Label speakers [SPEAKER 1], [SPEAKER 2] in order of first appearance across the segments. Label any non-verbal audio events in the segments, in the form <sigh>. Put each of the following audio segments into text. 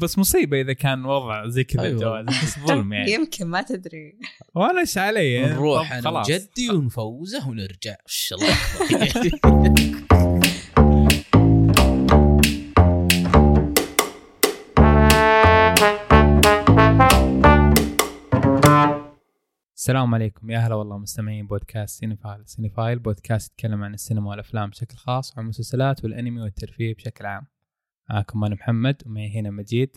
[SPEAKER 1] بس مصيبه اذا كان وضع زي كذا
[SPEAKER 2] أيوة.
[SPEAKER 1] الجواز بس ظلم يعني
[SPEAKER 3] يمكن ما تدري
[SPEAKER 1] ولا ايش علي يعني.
[SPEAKER 2] نروح
[SPEAKER 1] طب
[SPEAKER 2] انا
[SPEAKER 1] خلاص.
[SPEAKER 2] وجدي ونفوزه ونرجع إيش الله أكبر.
[SPEAKER 1] <laughs> السلام عليكم يا هلا والله مستمعين بودكاست سينيفايل سينيفايل بودكاست يتكلم عن السينما والافلام بشكل خاص وعن المسلسلات والانمي والترفيه بشكل عام معكم انا محمد ومعي هنا مجيد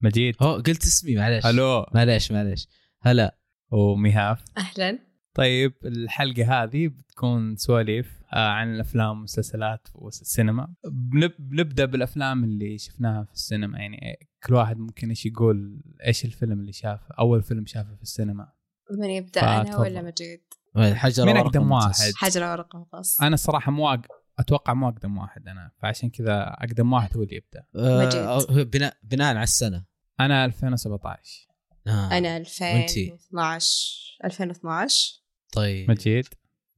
[SPEAKER 1] مجيد
[SPEAKER 2] هو قلت اسمي معلش
[SPEAKER 1] الو
[SPEAKER 2] معلش معلش هلا
[SPEAKER 1] ومهاف
[SPEAKER 3] اهلا
[SPEAKER 1] طيب الحلقة هذه بتكون سواليف آه، عن الأفلام والمسلسلات والسينما بنب- بنبدأ بالأفلام اللي شفناها في السينما يعني كل واحد ممكن إيش يقول إيش الفيلم اللي شافه أول فيلم شافه في السينما
[SPEAKER 3] من يبدا انا
[SPEAKER 1] فتفضل.
[SPEAKER 3] ولا مجيد؟
[SPEAKER 2] الحجر
[SPEAKER 1] مين
[SPEAKER 2] ورقة
[SPEAKER 1] أقدم
[SPEAKER 2] ممتاز.
[SPEAKER 1] واحد؟
[SPEAKER 3] حجر ورقه قص
[SPEAKER 1] أنا الصراحة مو أق... أتوقع مو أقدم واحد أنا فعشان كذا أقدم واحد هو اللي يبدأ
[SPEAKER 2] آه، هو بناء بناء على السنه
[SPEAKER 1] أنا 2017
[SPEAKER 2] آه.
[SPEAKER 3] انا
[SPEAKER 2] وانتي؟
[SPEAKER 3] 2012 2012
[SPEAKER 2] طيب
[SPEAKER 1] مجيد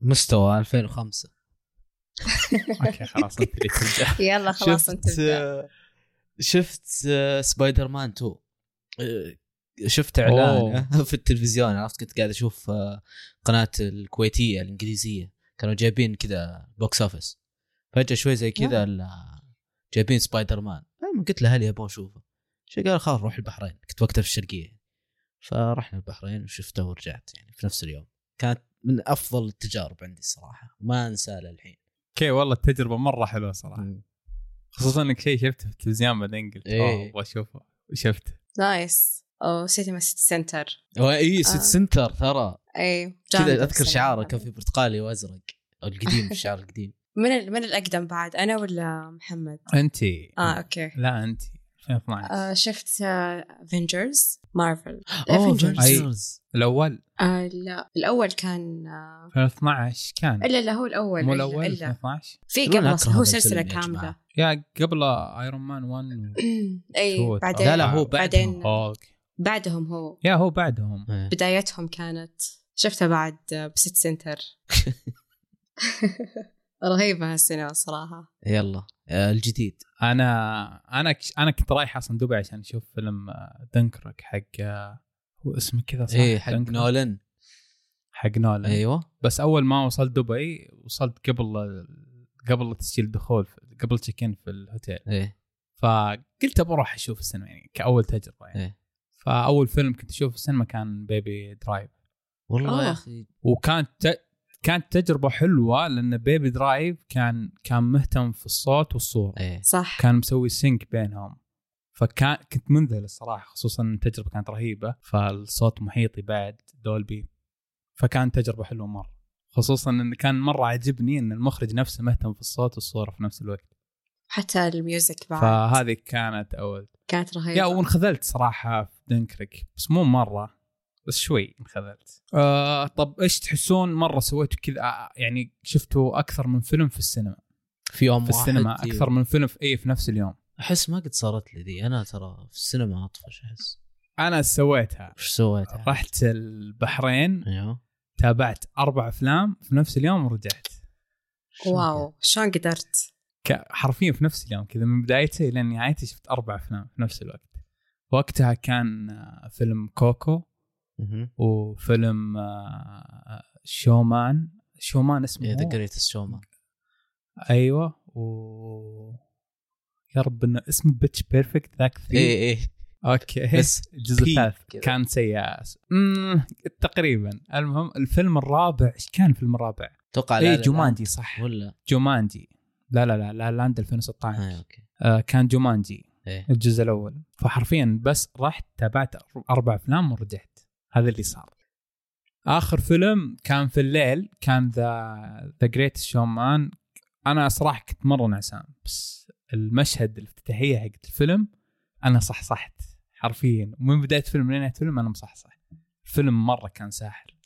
[SPEAKER 2] مستوى 2005
[SPEAKER 1] أوكي خلاص أنت اللي تبدأ
[SPEAKER 3] يلا خلاص انت ابدأ.
[SPEAKER 2] آه، شفت آه، سبايدر مان 2 آه، شفت
[SPEAKER 1] أوه.
[SPEAKER 2] اعلان <laughs> في التلفزيون عرفت كنت قاعد اشوف آه، قناه الكويتيه الانجليزيه كانوا جايبين كذا بوكس اوفيس فجاه شوي زي كذا
[SPEAKER 3] نعم.
[SPEAKER 2] ال- جايبين سبايدر مان المهم قلت لاهلي ابغى اشوفه شو قال خلاص روح البحرين كنت وقتها في الشرقيه فرحنا البحرين وشفته ورجعت يعني في نفس اليوم كانت من افضل التجارب عندي الصراحه ما انساها للحين
[SPEAKER 1] <laughs> أوكي والله التجربة مرة حلوة صراحة خصوصا إنك شيء شفته في التلفزيون بعدين قلت
[SPEAKER 2] إيه.
[SPEAKER 1] أوه أبغى أشوفه وشفته
[SPEAKER 3] نايس او سيتي سيتي سنتر
[SPEAKER 2] واي سيت
[SPEAKER 3] آه.
[SPEAKER 2] سنتر ترى
[SPEAKER 3] اي جامد
[SPEAKER 2] كذا اذكر
[SPEAKER 3] الصراحة.
[SPEAKER 2] شعاره كان في برتقالي وازرق <laughs> القديم الشعار القديم
[SPEAKER 3] من ال- من الاقدم بعد انا ولا محمد؟
[SPEAKER 1] أنت
[SPEAKER 3] اه اوكي
[SPEAKER 1] لا انت 2012
[SPEAKER 3] آه شفت افنجرز مارفل
[SPEAKER 1] Avengers. الاول
[SPEAKER 3] آه، لا الاول كان آه
[SPEAKER 1] 2012 كان
[SPEAKER 3] الا لا هو الاول
[SPEAKER 1] مو
[SPEAKER 3] إلا-
[SPEAKER 1] الاول
[SPEAKER 3] الا
[SPEAKER 1] 2012
[SPEAKER 3] في
[SPEAKER 2] والله أنا
[SPEAKER 3] قبل
[SPEAKER 2] أكره
[SPEAKER 3] أصلاً،
[SPEAKER 2] هذا
[SPEAKER 3] هو
[SPEAKER 2] الفيلم
[SPEAKER 3] سلسله
[SPEAKER 2] يا جماعة.
[SPEAKER 3] كامله
[SPEAKER 1] يا قبل ايرون مان 1
[SPEAKER 3] اي
[SPEAKER 1] شوت.
[SPEAKER 3] إيه، بعدين
[SPEAKER 2] لا لا هو
[SPEAKER 3] بعدين-
[SPEAKER 2] بعدين
[SPEAKER 1] هولك
[SPEAKER 3] بعدهم هو
[SPEAKER 1] يا هو بعدهم
[SPEAKER 3] بدايتهم كانت شفتها بعد بسيت <laughs> سنتر رهيبة هالسينما الصراحة
[SPEAKER 2] يلا آه، الجديد
[SPEAKER 1] انا انا كش- انا كنت رايح اصلا دبي عشان اشوف فيلم آه، دنكرك حق آه، هو اسمه كذا صح
[SPEAKER 2] ايه حق
[SPEAKER 1] دنكرك.
[SPEAKER 2] نولن
[SPEAKER 1] حق نولان
[SPEAKER 2] ايوه
[SPEAKER 1] بس اول ما وصلت دبي وصلت قبل قبل تسجيل دخول قبل تشيك ان في الهوتيل
[SPEAKER 2] ايه
[SPEAKER 1] فقلت بروح اشوف السينما يعني كاول تجربه يعني
[SPEAKER 2] إيه.
[SPEAKER 1] فاول فيلم كنت اشوفه في السينما كان بيبي درايف
[SPEAKER 2] والله
[SPEAKER 3] آه.
[SPEAKER 2] يا اخي
[SPEAKER 1] وكانت ت... كانت تجربه حلوه لان بيبي درايف كان كان مهتم في الصوت والصوره
[SPEAKER 2] ايه
[SPEAKER 3] صح
[SPEAKER 1] كان مسوي سينك بينهم فكان كنت منذهل الصراحه خصوصا إن التجربه كانت رهيبه فالصوت محيطي بعد دولبي فكان تجربه حلوه مره خصوصا انه كان مره عجبني ان المخرج نفسه مهتم في الصوت والصوره في نفس الوقت
[SPEAKER 3] حتى الميوزك بعد
[SPEAKER 1] فهذه كانت اول
[SPEAKER 3] كانت رهيبة
[SPEAKER 1] يا وانخذلت صراحة في دنكرك بس مو مرة بس شوي انخذلت آه طب ايش تحسون مرة سويتوا كذا آه، يعني شفتوا أكثر من فيلم في السينما
[SPEAKER 2] في يوم
[SPEAKER 1] في السينما
[SPEAKER 2] واحد
[SPEAKER 1] أكثر من فيلم في أي في نفس اليوم
[SPEAKER 2] احس ما قد صارت لي دي انا ترى في السينما اطفش احس
[SPEAKER 1] أنا سويتها
[SPEAKER 2] وش سويت
[SPEAKER 1] رحت البحرين
[SPEAKER 2] ايوه
[SPEAKER 1] تابعت أربع أفلام في نفس اليوم ورجعت
[SPEAKER 2] شو
[SPEAKER 3] واو شلون قدرت
[SPEAKER 1] ك- حرفيا في نفس اليوم كذا من بدايته إلى نهايته شفت أربع أفلام في نفس الوقت وقتها كان آه، فيلم كوكو
[SPEAKER 2] مهم.
[SPEAKER 1] وفيلم آه، شومان شومان اسمه
[SPEAKER 2] إيه،
[SPEAKER 1] هو؟
[SPEAKER 2] ذا جريتست شومان
[SPEAKER 1] ايوه و يا رب انه اسمه بيتش بيرفكت ذاك في
[SPEAKER 2] ايه ايه
[SPEAKER 1] اوكي
[SPEAKER 2] بس
[SPEAKER 1] الجزء
[SPEAKER 2] بي
[SPEAKER 1] الثالث
[SPEAKER 2] كذا.
[SPEAKER 1] كان سيء امم تقريبا المهم الفيلم الرابع ايش كان الفيلم الرابع؟
[SPEAKER 2] اتوقع لا
[SPEAKER 1] اي
[SPEAKER 2] لا
[SPEAKER 1] جومانجي صح
[SPEAKER 2] لا. ولا
[SPEAKER 1] جومانجي لا لا لا لا لاند 2016
[SPEAKER 2] ايه اوكي
[SPEAKER 1] آه كان جومانجي
[SPEAKER 2] ايه
[SPEAKER 1] الجزء الاول فحرفيا بس رحت تابعت اربع افلام ورجعت هذا اللي صار اخر فيلم كان في الليل كان ذا ذا جريت شومان انا صراحه كنت مره نعسان بس المشهد الافتتاحيه حقت الفيلم انا صحصحت حرفيا من بدايه الفيلم لنهايه الفيلم انا مصحصح الفيلم مره كان ساحر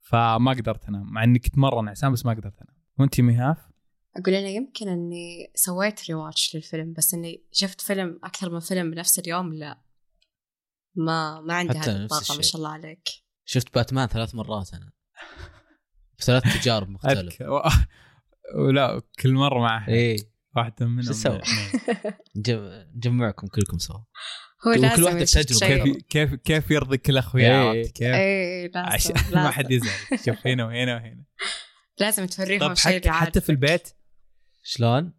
[SPEAKER 1] فما قدرت انام مع اني كنت مره نعسان بس ما قدرت انام وانت مهاف
[SPEAKER 3] أقول أنا يمكن أني سويت ريواتش للفيلم بس أني شفت فيلم أكثر من فيلم بنفس اليوم لا ما ما عندي
[SPEAKER 2] حتى
[SPEAKER 3] هذه
[SPEAKER 2] نفس
[SPEAKER 3] الطاقة ما
[SPEAKER 2] الشيء.
[SPEAKER 3] شاء الله عليك
[SPEAKER 2] شفت باتمان ثلاث مرات <laughs> انا ثلاث تجارب مختلفه
[SPEAKER 1] <laughs> أذكر- ولا كل مره مع أحد.
[SPEAKER 2] ايه
[SPEAKER 1] واحدة منهم
[SPEAKER 2] شو
[SPEAKER 1] <laughs>
[SPEAKER 2] تسوي؟
[SPEAKER 1] الاثنين.
[SPEAKER 2] نجم- نجمعكم كلكم سوا
[SPEAKER 3] هو
[SPEAKER 2] وكل
[SPEAKER 3] لازم
[SPEAKER 2] واحدة
[SPEAKER 3] يشوف
[SPEAKER 2] بتجربة.
[SPEAKER 3] شيء.
[SPEAKER 1] كيف <laughs> كيف كيف يرضي كل اخويا
[SPEAKER 2] إيه.
[SPEAKER 1] عرفت <laughs> كيف؟
[SPEAKER 3] اي لازم
[SPEAKER 1] عشان
[SPEAKER 3] لازم.
[SPEAKER 1] <laughs> ما حد يزعل شوف هنا وهنا
[SPEAKER 2] <laughs>
[SPEAKER 1] وهنا
[SPEAKER 3] لازم توريهم
[SPEAKER 1] طب
[SPEAKER 3] شيء
[SPEAKER 1] طيب، حتى,
[SPEAKER 3] اللي
[SPEAKER 1] حتى
[SPEAKER 3] عارفك.
[SPEAKER 1] في البيت
[SPEAKER 2] شلون؟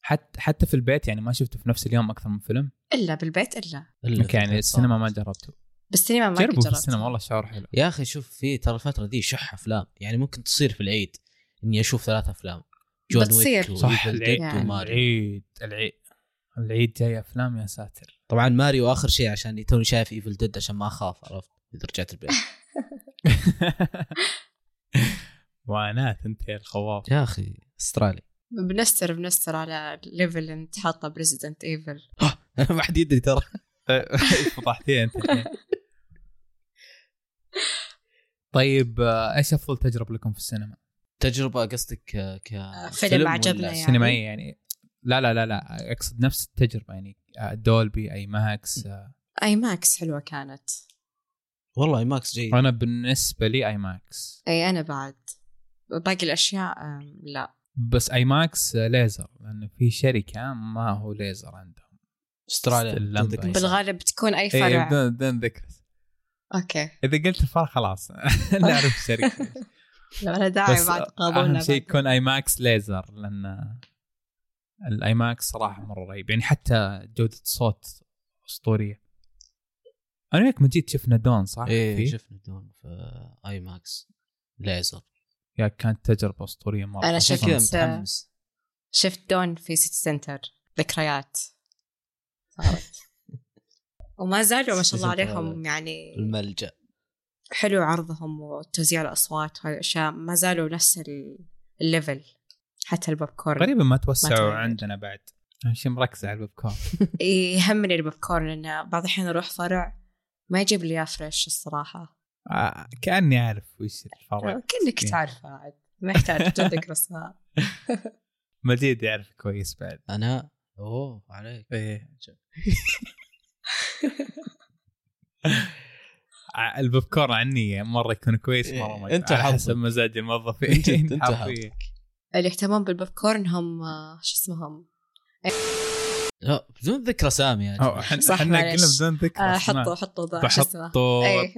[SPEAKER 1] حتى حتى في البيت يعني ما شفته في نفس اليوم اكثر من فيلم
[SPEAKER 3] الا بالبيت الا
[SPEAKER 2] إلا
[SPEAKER 1] اوكي يعني السينما ما جربته
[SPEAKER 3] بالسينما ما
[SPEAKER 1] جربوا في
[SPEAKER 3] جربت.
[SPEAKER 1] السينما والله شعور حلو
[SPEAKER 2] يا اخي شوف في ترى الفتره دي شح افلام يعني ممكن تصير في العيد اني اشوف ثلاث افلام جون
[SPEAKER 3] بتصير.
[SPEAKER 2] ويك
[SPEAKER 1] صح
[SPEAKER 2] وإيفل
[SPEAKER 1] العيد
[SPEAKER 2] ديد
[SPEAKER 3] يعني.
[SPEAKER 2] وماريو
[SPEAKER 1] العيد العيد العيد جاي افلام يا ساتر <laughs>
[SPEAKER 2] طبعا ماريو اخر شيء عشان توني شايف ايفل ديد عشان ما اخاف عرفت اذا رجعت
[SPEAKER 3] <laughs>
[SPEAKER 2] البيت
[SPEAKER 1] معاناه انت يا الخواف
[SPEAKER 2] يا اخي <laughs> استرالي
[SPEAKER 3] بنستر بنستر على ليفل انت حاطه بريزدنت ايفل
[SPEAKER 2] انا ما حد يدري ترى
[SPEAKER 1] <laughs> فضحتيها انت إيه، الحين. طيب آه، ايش افضل تجربه لكم في السينما؟
[SPEAKER 2] تجربه قصدك آه، ك
[SPEAKER 3] فيلم
[SPEAKER 2] ولا
[SPEAKER 3] عجبنا يعني.
[SPEAKER 1] سينمائيه يعني لا لا لا لا اقصد نفس التجربه يعني آه، دولبي اي ماكس آه،
[SPEAKER 3] اي ماكس حلوه كانت
[SPEAKER 2] والله اي ماكس جيد
[SPEAKER 1] انا بالنسبه لي اي ماكس
[SPEAKER 3] اي انا بعد باقي الاشياء أم، لا
[SPEAKER 1] بس اي ماكس آه، ليزر لانه في شركه ما هو ليزر عندهم
[SPEAKER 2] استراليا
[SPEAKER 1] اللمبة.
[SPEAKER 2] تذكر.
[SPEAKER 1] أي
[SPEAKER 3] بالغالب تكون اي
[SPEAKER 1] اي
[SPEAKER 3] فرع
[SPEAKER 1] بدون بدون ذكر
[SPEAKER 3] اوكي
[SPEAKER 1] اذا قلت الفرق خلاص <laughs> نعرف الشركه
[SPEAKER 3] لا لا داعي
[SPEAKER 1] بس
[SPEAKER 3] بعد
[SPEAKER 1] اهم
[SPEAKER 3] قابلنا
[SPEAKER 1] شيء يكون اي ماكس ليزر لان الاي ماكس صراحه مره رهيب يعني حتى جوده الصوت اسطوريه انا وياك من جيت شفنا دون صح؟
[SPEAKER 2] ايه
[SPEAKER 1] فيه؟
[SPEAKER 2] شفنا دون في اي ماكس ليزر
[SPEAKER 1] يا كانت تجربه اسطوريه مره
[SPEAKER 3] أنا
[SPEAKER 2] عشان
[SPEAKER 1] خصوصاً-
[SPEAKER 3] شفت-
[SPEAKER 2] كذا متحمس
[SPEAKER 3] شفت دون في سيتي سنتر ذكريات
[SPEAKER 1] <laughs>
[SPEAKER 3] صارت وما زالوا ما شاء الله
[SPEAKER 2] سيتي سنتر
[SPEAKER 3] عليهم يعني
[SPEAKER 2] الملجا
[SPEAKER 3] حلو عرضهم وتوزيع الاصوات وهذه الاشياء ما زالوا نفس ال- الليفل حتى البوب كورن
[SPEAKER 1] غريبه ما
[SPEAKER 3] ما
[SPEAKER 1] توسعوا
[SPEAKER 3] تغير.
[SPEAKER 1] عندنا بعد اهم شيء مركزه على البوب كورن
[SPEAKER 3] يهمني البوب كورن لانه بعض الاحيان اروح فرع ما يجيب لي إياه فريش الصراحه
[SPEAKER 1] آه، كاني اعرف وش الفرق
[SPEAKER 3] كلك
[SPEAKER 1] إيه.
[SPEAKER 3] تعرفه عاد ما
[SPEAKER 1] <laughs>
[SPEAKER 3] يحتاج تذكر اسماء
[SPEAKER 1] مجيد يعرف كويس بعد
[SPEAKER 2] انا اوه عليك
[SPEAKER 1] ايه
[SPEAKER 2] <laughs>
[SPEAKER 1] ع- البوب كورن عني مره يكون كويس مره ما
[SPEAKER 2] إيه، أنت
[SPEAKER 1] على
[SPEAKER 2] حظك.
[SPEAKER 1] حسب مزاج الموظفين
[SPEAKER 2] من جد، أنت
[SPEAKER 1] <laughs> حرفياً.
[SPEAKER 3] اللي يهتمون بالبوب كورن هم آه، شو اسمهم
[SPEAKER 2] لا بدون ذكر اسامي يعني
[SPEAKER 1] أو احنا
[SPEAKER 3] صح،
[SPEAKER 1] احنا
[SPEAKER 3] معلش.
[SPEAKER 1] قلنا بدون ذكر
[SPEAKER 3] آه،
[SPEAKER 1] أصناف.
[SPEAKER 3] حطوا حطوا ذا شو اسمه
[SPEAKER 1] بحطوا
[SPEAKER 3] إيه. إيه.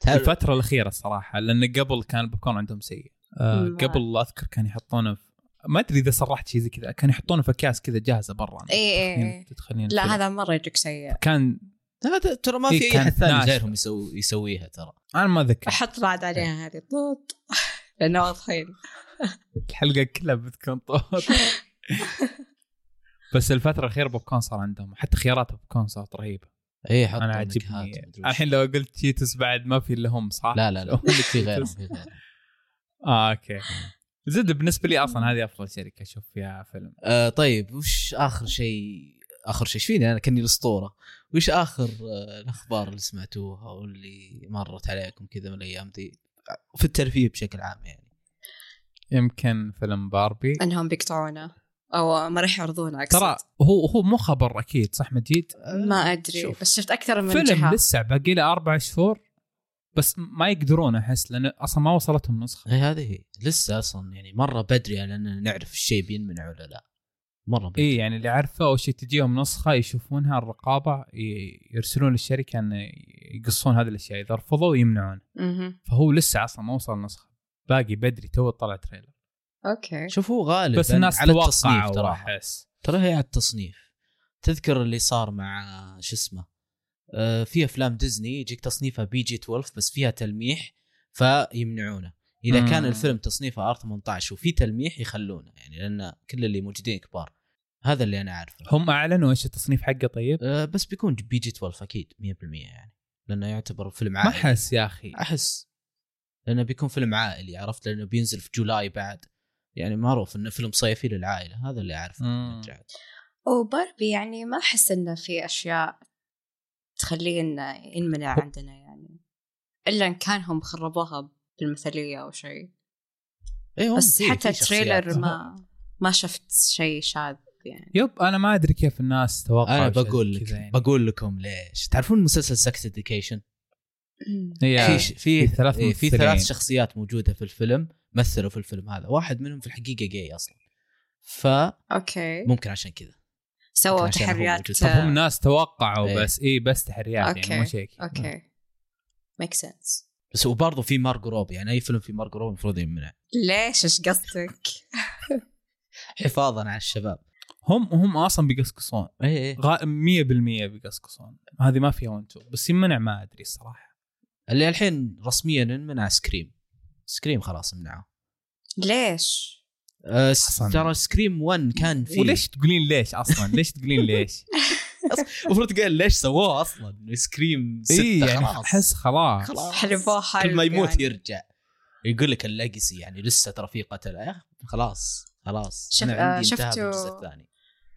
[SPEAKER 2] تعرف-
[SPEAKER 1] الفترة الأخيرة الصراحة لأن قبل كان البوبكورن عندهم سيء آه
[SPEAKER 3] ما-
[SPEAKER 1] قبل أذكر كان يحطونه في ما أدري إذا صرحت شيء زي كذا كان يحطونه في أكياس كذا جاهزة برا
[SPEAKER 3] إيه،
[SPEAKER 1] تدخلين-
[SPEAKER 3] إيه،
[SPEAKER 1] <laughs>
[SPEAKER 3] إيه.
[SPEAKER 1] تدخلين
[SPEAKER 3] لا
[SPEAKER 1] الفيلم.
[SPEAKER 3] هذا مره يجيك سيء
[SPEAKER 1] كان
[SPEAKER 2] هذا ترى ما
[SPEAKER 1] إيه،
[SPEAKER 2] في اي
[SPEAKER 1] كان
[SPEAKER 2] احد ثاني
[SPEAKER 1] ناشفة.
[SPEAKER 2] غيرهم يسوي يسويها ترى
[SPEAKER 1] أنا ما أذكر
[SPEAKER 3] احط بعد
[SPEAKER 1] إيه.
[SPEAKER 3] عليها هذه طوط <laughs> لانه واضحين
[SPEAKER 1] الحلقة كلها بتكون
[SPEAKER 2] <laughs>
[SPEAKER 1] طول بس الفترة الأخيرة بوبكورن صار عندهم حتى خيارات بوبكورن صارت رهيبة
[SPEAKER 2] اي إيه، حط
[SPEAKER 1] أنا
[SPEAKER 2] عجبني
[SPEAKER 1] عاجبني الحين لو قلت تشيتوس بعد ما في إلا هم صح؟
[SPEAKER 2] لا لا لا في غيرهم في غيرهم
[SPEAKER 1] <laughs> آه أوكي زد بالنسبة لي أصلا هذه أفضل شركة أشوف فيها فيلم
[SPEAKER 2] آه طيب وش اخر شيء اخر شيء إيش فيني انا كاني الاسطوره وش اخر آه الاخبار اللي سمعتوها واللي مرت عليكم كذا من الايام دي في الترفيه بشكل عام يعني
[SPEAKER 1] يمكن فيلم باربي
[SPEAKER 3] انهم بيقطعونا او ما راح يعرضونا أقصد.
[SPEAKER 1] ترى هو هو مو خبر اكيد صح مجيد؟
[SPEAKER 3] ما ادري
[SPEAKER 2] شوف.
[SPEAKER 3] بس شفت اكثر من
[SPEAKER 1] فيلم
[SPEAKER 3] جهه
[SPEAKER 1] لسه باقي له اربع شهور بس ما يقدرون احس لانه اصلا ما وصلتهم نسخه
[SPEAKER 2] هي آه، إيه، هذه هي لسه اصلا يعني مره بدري على اننا نعرف الشيء بينمنع ولا لا مره بدري
[SPEAKER 1] اي يعني اللي عارفه اول شيء تجيهم نسخه يشوفونها الرقابه ي- يرسلون للشركه ان يقصون هذه الاشياء اذا رفضوا يمنعون
[SPEAKER 3] مهم.
[SPEAKER 1] فهو لسه اصلا ما وصل نسخه باقي بدري تو طلع تريلر
[SPEAKER 3] اوكي
[SPEAKER 2] شوف هو غالبا
[SPEAKER 1] بس الناس
[SPEAKER 2] على التصنيف
[SPEAKER 1] توقعوا
[SPEAKER 2] ترى
[SPEAKER 1] احس
[SPEAKER 2] ترى هي على التصنيف تذكر اللي صار مع شو اسمه آه، في افلام ديزني يجيك تصنيفها بي جي 12 بس فيها تلميح فيمنعونه اذا
[SPEAKER 1] مم.
[SPEAKER 2] كان الفيلم تصنيفه ار 18 وفي تلميح يخلونه يعني لان كل اللي موجودين كبار هذا اللي انا اعرفه
[SPEAKER 1] هم اعلنوا ايش التصنيف حقه طيب؟
[SPEAKER 2] آه، بس بيكون بي جي 12 اكيد 100% يعني لانه يعتبر فيلم
[SPEAKER 1] ما
[SPEAKER 2] عائلي
[SPEAKER 1] احس يا اخي
[SPEAKER 2] احس لانه بيكون فيلم عائلي عرفت لانه بينزل في جولاي بعد يعني معروف انه فيلم صيفي للعائله هذا اللي اعرفه
[SPEAKER 1] مم.
[SPEAKER 3] وباربي يعني ما احس انه في اشياء تخلينا ينمنع عندنا يعني الا ان كان هم خربوها بالمثاليه او شيء
[SPEAKER 2] ايه هم
[SPEAKER 3] بس
[SPEAKER 2] في-
[SPEAKER 3] حتى
[SPEAKER 2] في شخصيات.
[SPEAKER 3] التريلر ما ما شفت شيء شاذ يعني
[SPEAKER 1] يب انا ما ادري كيف الناس توقعوا
[SPEAKER 2] انا
[SPEAKER 1] شيء
[SPEAKER 2] بقول لك
[SPEAKER 1] كذا يعني.
[SPEAKER 2] بقول لكم ليش تعرفون مسلسل سكس اديوكيشن
[SPEAKER 1] هي-
[SPEAKER 2] في في
[SPEAKER 1] في ثلاث
[SPEAKER 2] إيه، في
[SPEAKER 1] ممثلين.
[SPEAKER 2] ثلاث شخصيات موجوده في الفيلم مثلوا في الفيلم هذا واحد منهم في الحقيقه جاي اصلا
[SPEAKER 3] اوكي
[SPEAKER 2] فممكن عشان كذا
[SPEAKER 3] سووا
[SPEAKER 2] عشان هو
[SPEAKER 3] تحريات
[SPEAKER 2] موجود.
[SPEAKER 1] طب يعني. هم ناس توقعوا
[SPEAKER 2] إيه.
[SPEAKER 1] بس اي بس تحريات يعني
[SPEAKER 3] أوكي.
[SPEAKER 1] مو شيء كذا.
[SPEAKER 2] آه.
[SPEAKER 3] اوكي ميك سنس
[SPEAKER 2] بس وبرضه في مارجو روبي يعني اي فيلم في مارجو روبي المفروض يمنع
[SPEAKER 3] ليش ايش قصدك؟
[SPEAKER 2] <laughs> حفاظا على الشباب
[SPEAKER 1] هم هم اصلا بيقصقصون
[SPEAKER 2] اي اي
[SPEAKER 1] غا- 100% بيقصقصون هذه ما فيها وانتو بس يمنع ما ادري الصراحه
[SPEAKER 2] اللي الحين رسميا منع سكريم سكريم خلاص منعه
[SPEAKER 3] ليش؟
[SPEAKER 2] أه،
[SPEAKER 1] حسن.
[SPEAKER 2] ترى سكريم 1 كان في
[SPEAKER 1] آه، وليش تقولين ليش اصلا ليش تقولين ليش
[SPEAKER 2] المفروض قال ليش سووه اصلا سكريم 6
[SPEAKER 1] اي يعني
[SPEAKER 2] خلاص
[SPEAKER 1] احس خلاص
[SPEAKER 2] خلاص
[SPEAKER 3] حلبوه حلب
[SPEAKER 2] كل ما يموت
[SPEAKER 3] يعني.
[SPEAKER 2] يرجع يقول لك الليجسي يعني لسه ترى في قتل يا أخي خلاص خلاص
[SPEAKER 3] شف-
[SPEAKER 2] انا عندي
[SPEAKER 3] آه،
[SPEAKER 2] انتهى
[SPEAKER 3] شفتوا-
[SPEAKER 2] بالجزء الثاني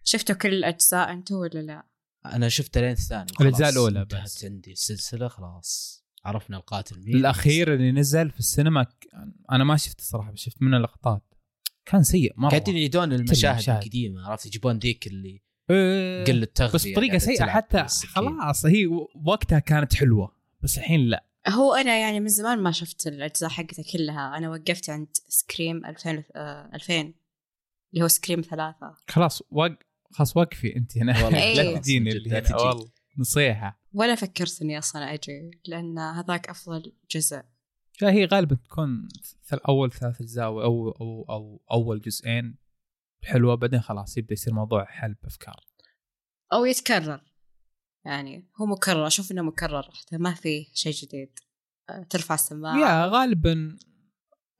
[SPEAKER 3] شفتوا كل الاجزاء انتوا ولا لا؟
[SPEAKER 2] انا شفت لين الثاني
[SPEAKER 1] الأجزاء
[SPEAKER 2] خلاص،
[SPEAKER 1] الأولى
[SPEAKER 2] انتهت
[SPEAKER 1] بس.
[SPEAKER 2] عندي السلسله خلاص عرفنا القاتل مين
[SPEAKER 1] الاخير اللي نزل في السينما ك- انا ما شفت الصراحه بس شفت منه لقطات كان سيء مره
[SPEAKER 2] قاعدين يعيدون المشاهد
[SPEAKER 1] المشاهد.
[SPEAKER 2] القديمه عرفت يجيبون ذيك اللي
[SPEAKER 1] إيه.
[SPEAKER 2] قل التغذيه
[SPEAKER 1] بس بطريقه
[SPEAKER 2] قاعدة
[SPEAKER 1] سيئه
[SPEAKER 2] تلعب
[SPEAKER 1] حتى
[SPEAKER 2] بالسكين.
[SPEAKER 1] خلاص هي وقتها كانت حلوه بس الحين لا
[SPEAKER 3] هو انا يعني من زمان ما شفت الاجزاء حقتها كلها انا وقفت عند سكريم 2000 آه، 2000 اللي هو سكريم ثلاثة
[SPEAKER 1] خلاص وق... خلاص وقفي انت هنا <laughs>
[SPEAKER 2] والله
[SPEAKER 1] لا
[SPEAKER 3] إيه.
[SPEAKER 1] تجيني
[SPEAKER 2] جد،
[SPEAKER 1] اللي
[SPEAKER 2] لا
[SPEAKER 1] هنا
[SPEAKER 2] تجيني.
[SPEAKER 1] والله نصيحه
[SPEAKER 3] ولا فكرت اني اصلا اجي لان هذاك افضل جزء
[SPEAKER 1] فهي غالبا تكون ثل- اول ثلاث اجزاء او او او, أو اول جزئين حلوه بعدين خلاص يبدا يصير موضوع حل بافكار
[SPEAKER 3] او يتكرر يعني هو مكرر اشوف انه مكرر حتى ما فيه شيء جديد آه، ترفع السماعة
[SPEAKER 1] يا غالبا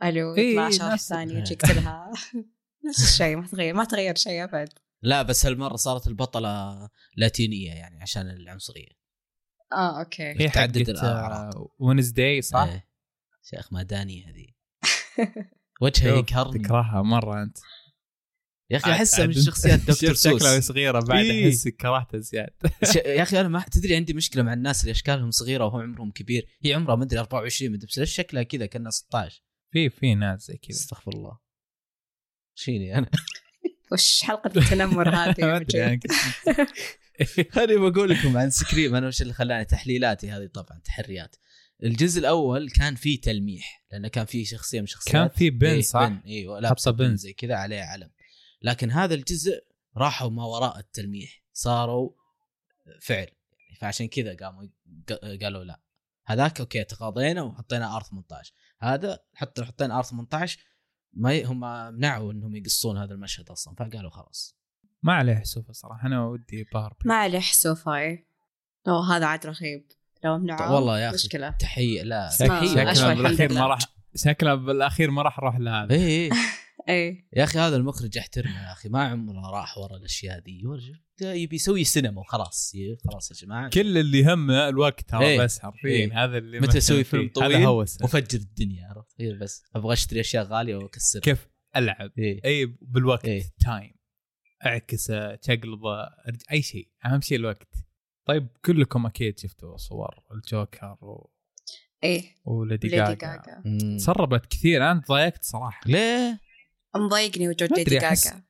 [SPEAKER 3] الو
[SPEAKER 1] إيه،
[SPEAKER 3] يطلع شرح
[SPEAKER 1] نفس-
[SPEAKER 3] ثاني يجيك تلها <laughs> نفس الشيء ما تغير ما تغير شيء ابد
[SPEAKER 2] لا بس هالمره صارت البطله لاتينيه يعني عشان العنصريه
[SPEAKER 3] اه اوكي
[SPEAKER 1] هي
[SPEAKER 2] تعدد
[SPEAKER 1] إيه، حقت
[SPEAKER 2] الأعراض.
[SPEAKER 1] ونزداي صح؟
[SPEAKER 2] إيه. شيخ مداني هذه وجهه
[SPEAKER 1] شوف،
[SPEAKER 2] يقهرني
[SPEAKER 1] تكرهها مره انت
[SPEAKER 2] يا اخي
[SPEAKER 1] عاد-
[SPEAKER 2] احسها من
[SPEAKER 1] عاد- <laughs>
[SPEAKER 2] شخصيات دكتور
[SPEAKER 1] شوف شكلها
[SPEAKER 2] سوس
[SPEAKER 1] صغيره بعد
[SPEAKER 2] إيه.
[SPEAKER 1] احسك كرهتها زياده
[SPEAKER 2] ش- يا اخي انا ما تدري عندي مشكله مع الناس اللي اشكالهم صغيره وهم عمرهم كبير هي عمرها ما ادري 24 مدري بس ليش شكلها كذا كانها 16
[SPEAKER 1] <laughs> في في ناس زي كذا
[SPEAKER 2] استغفر الله شيني <laughs> انا
[SPEAKER 3] <laughs> وش حلقة التنمر هذه
[SPEAKER 1] <laughs> ما يعني
[SPEAKER 3] يا
[SPEAKER 2] يعني.
[SPEAKER 1] ادري
[SPEAKER 3] مجيد؟
[SPEAKER 1] أنا كنت- <laughs>
[SPEAKER 2] انا بقول لكم عن سكريم انا وش اللي خلاني تحليلاتي هذه طبعا تحريات الجزء الاول كان فيه تلميح لانه كان فيه شخصيه من شخصيات
[SPEAKER 1] كان في بن
[SPEAKER 2] إيه،
[SPEAKER 1] صح؟
[SPEAKER 2] بن ايوه لابسه
[SPEAKER 1] حاطة بن.
[SPEAKER 2] بن زي كذا عليه علم لكن هذا الجزء راحوا ما وراء التلميح صاروا فعل يعني فعشان كذا قاموا ق- قالوا لا هذاك اوكي تقاضينا وحطينا ار 18 هذا حتى لو حطينا ار 18 ما ي... هم منعوا انهم يقصون هذا المشهد اصلا فقالوا خلاص
[SPEAKER 1] ما عليه حسوفه صراحه انا ودي باربي
[SPEAKER 3] ما عليه حسوفاي لو هذا عاد رهيب لو
[SPEAKER 2] طيب
[SPEAKER 3] منعوه
[SPEAKER 2] والله يا اخي
[SPEAKER 3] مشكلة
[SPEAKER 2] تحيه لا
[SPEAKER 3] اسمع،
[SPEAKER 2] تحيه
[SPEAKER 3] أشوى
[SPEAKER 1] شكلها
[SPEAKER 3] الحمد
[SPEAKER 1] بالاخير ما
[SPEAKER 3] لله.
[SPEAKER 1] راح شكلها بالاخير ما راح اروح لهذا
[SPEAKER 2] إيه، ايه
[SPEAKER 3] اي
[SPEAKER 2] يا اخي هذا المخرج احترمه يا اخي ما عمره راح ورا الاشياء دي ورج- ده يبي يسوي سينما وخلاص ي- خلاص يا جماعه
[SPEAKER 1] كل اللي همه الوقت ترى
[SPEAKER 2] إيه.
[SPEAKER 1] بس حرفيا هذا اللي
[SPEAKER 2] متى
[SPEAKER 1] مثل
[SPEAKER 2] أسوي
[SPEAKER 1] فيه.
[SPEAKER 2] فيلم طويل
[SPEAKER 1] هذا هوس
[SPEAKER 2] وفجر الدنيا عرفت هي بس ابغى اشتري اشياء غاليه واكسر
[SPEAKER 1] كيف العب
[SPEAKER 2] إيه.
[SPEAKER 1] اي بالوقت
[SPEAKER 2] إيه.
[SPEAKER 1] تايم اعكسه تقلبه أرج- اي شيء اهم شيء الوقت طيب كلكم اكيد شفتوا صور الجوكر و...
[SPEAKER 3] اي
[SPEAKER 1] وليدي
[SPEAKER 3] إيه. ليدي
[SPEAKER 1] جاجا
[SPEAKER 3] جاجا
[SPEAKER 2] مم.
[SPEAKER 1] سربت كثير انا تضايقت صراحه
[SPEAKER 2] ليه؟
[SPEAKER 3] مضايقني وجود
[SPEAKER 1] ما
[SPEAKER 3] ليدي
[SPEAKER 1] أدري، أحس-
[SPEAKER 3] جاجا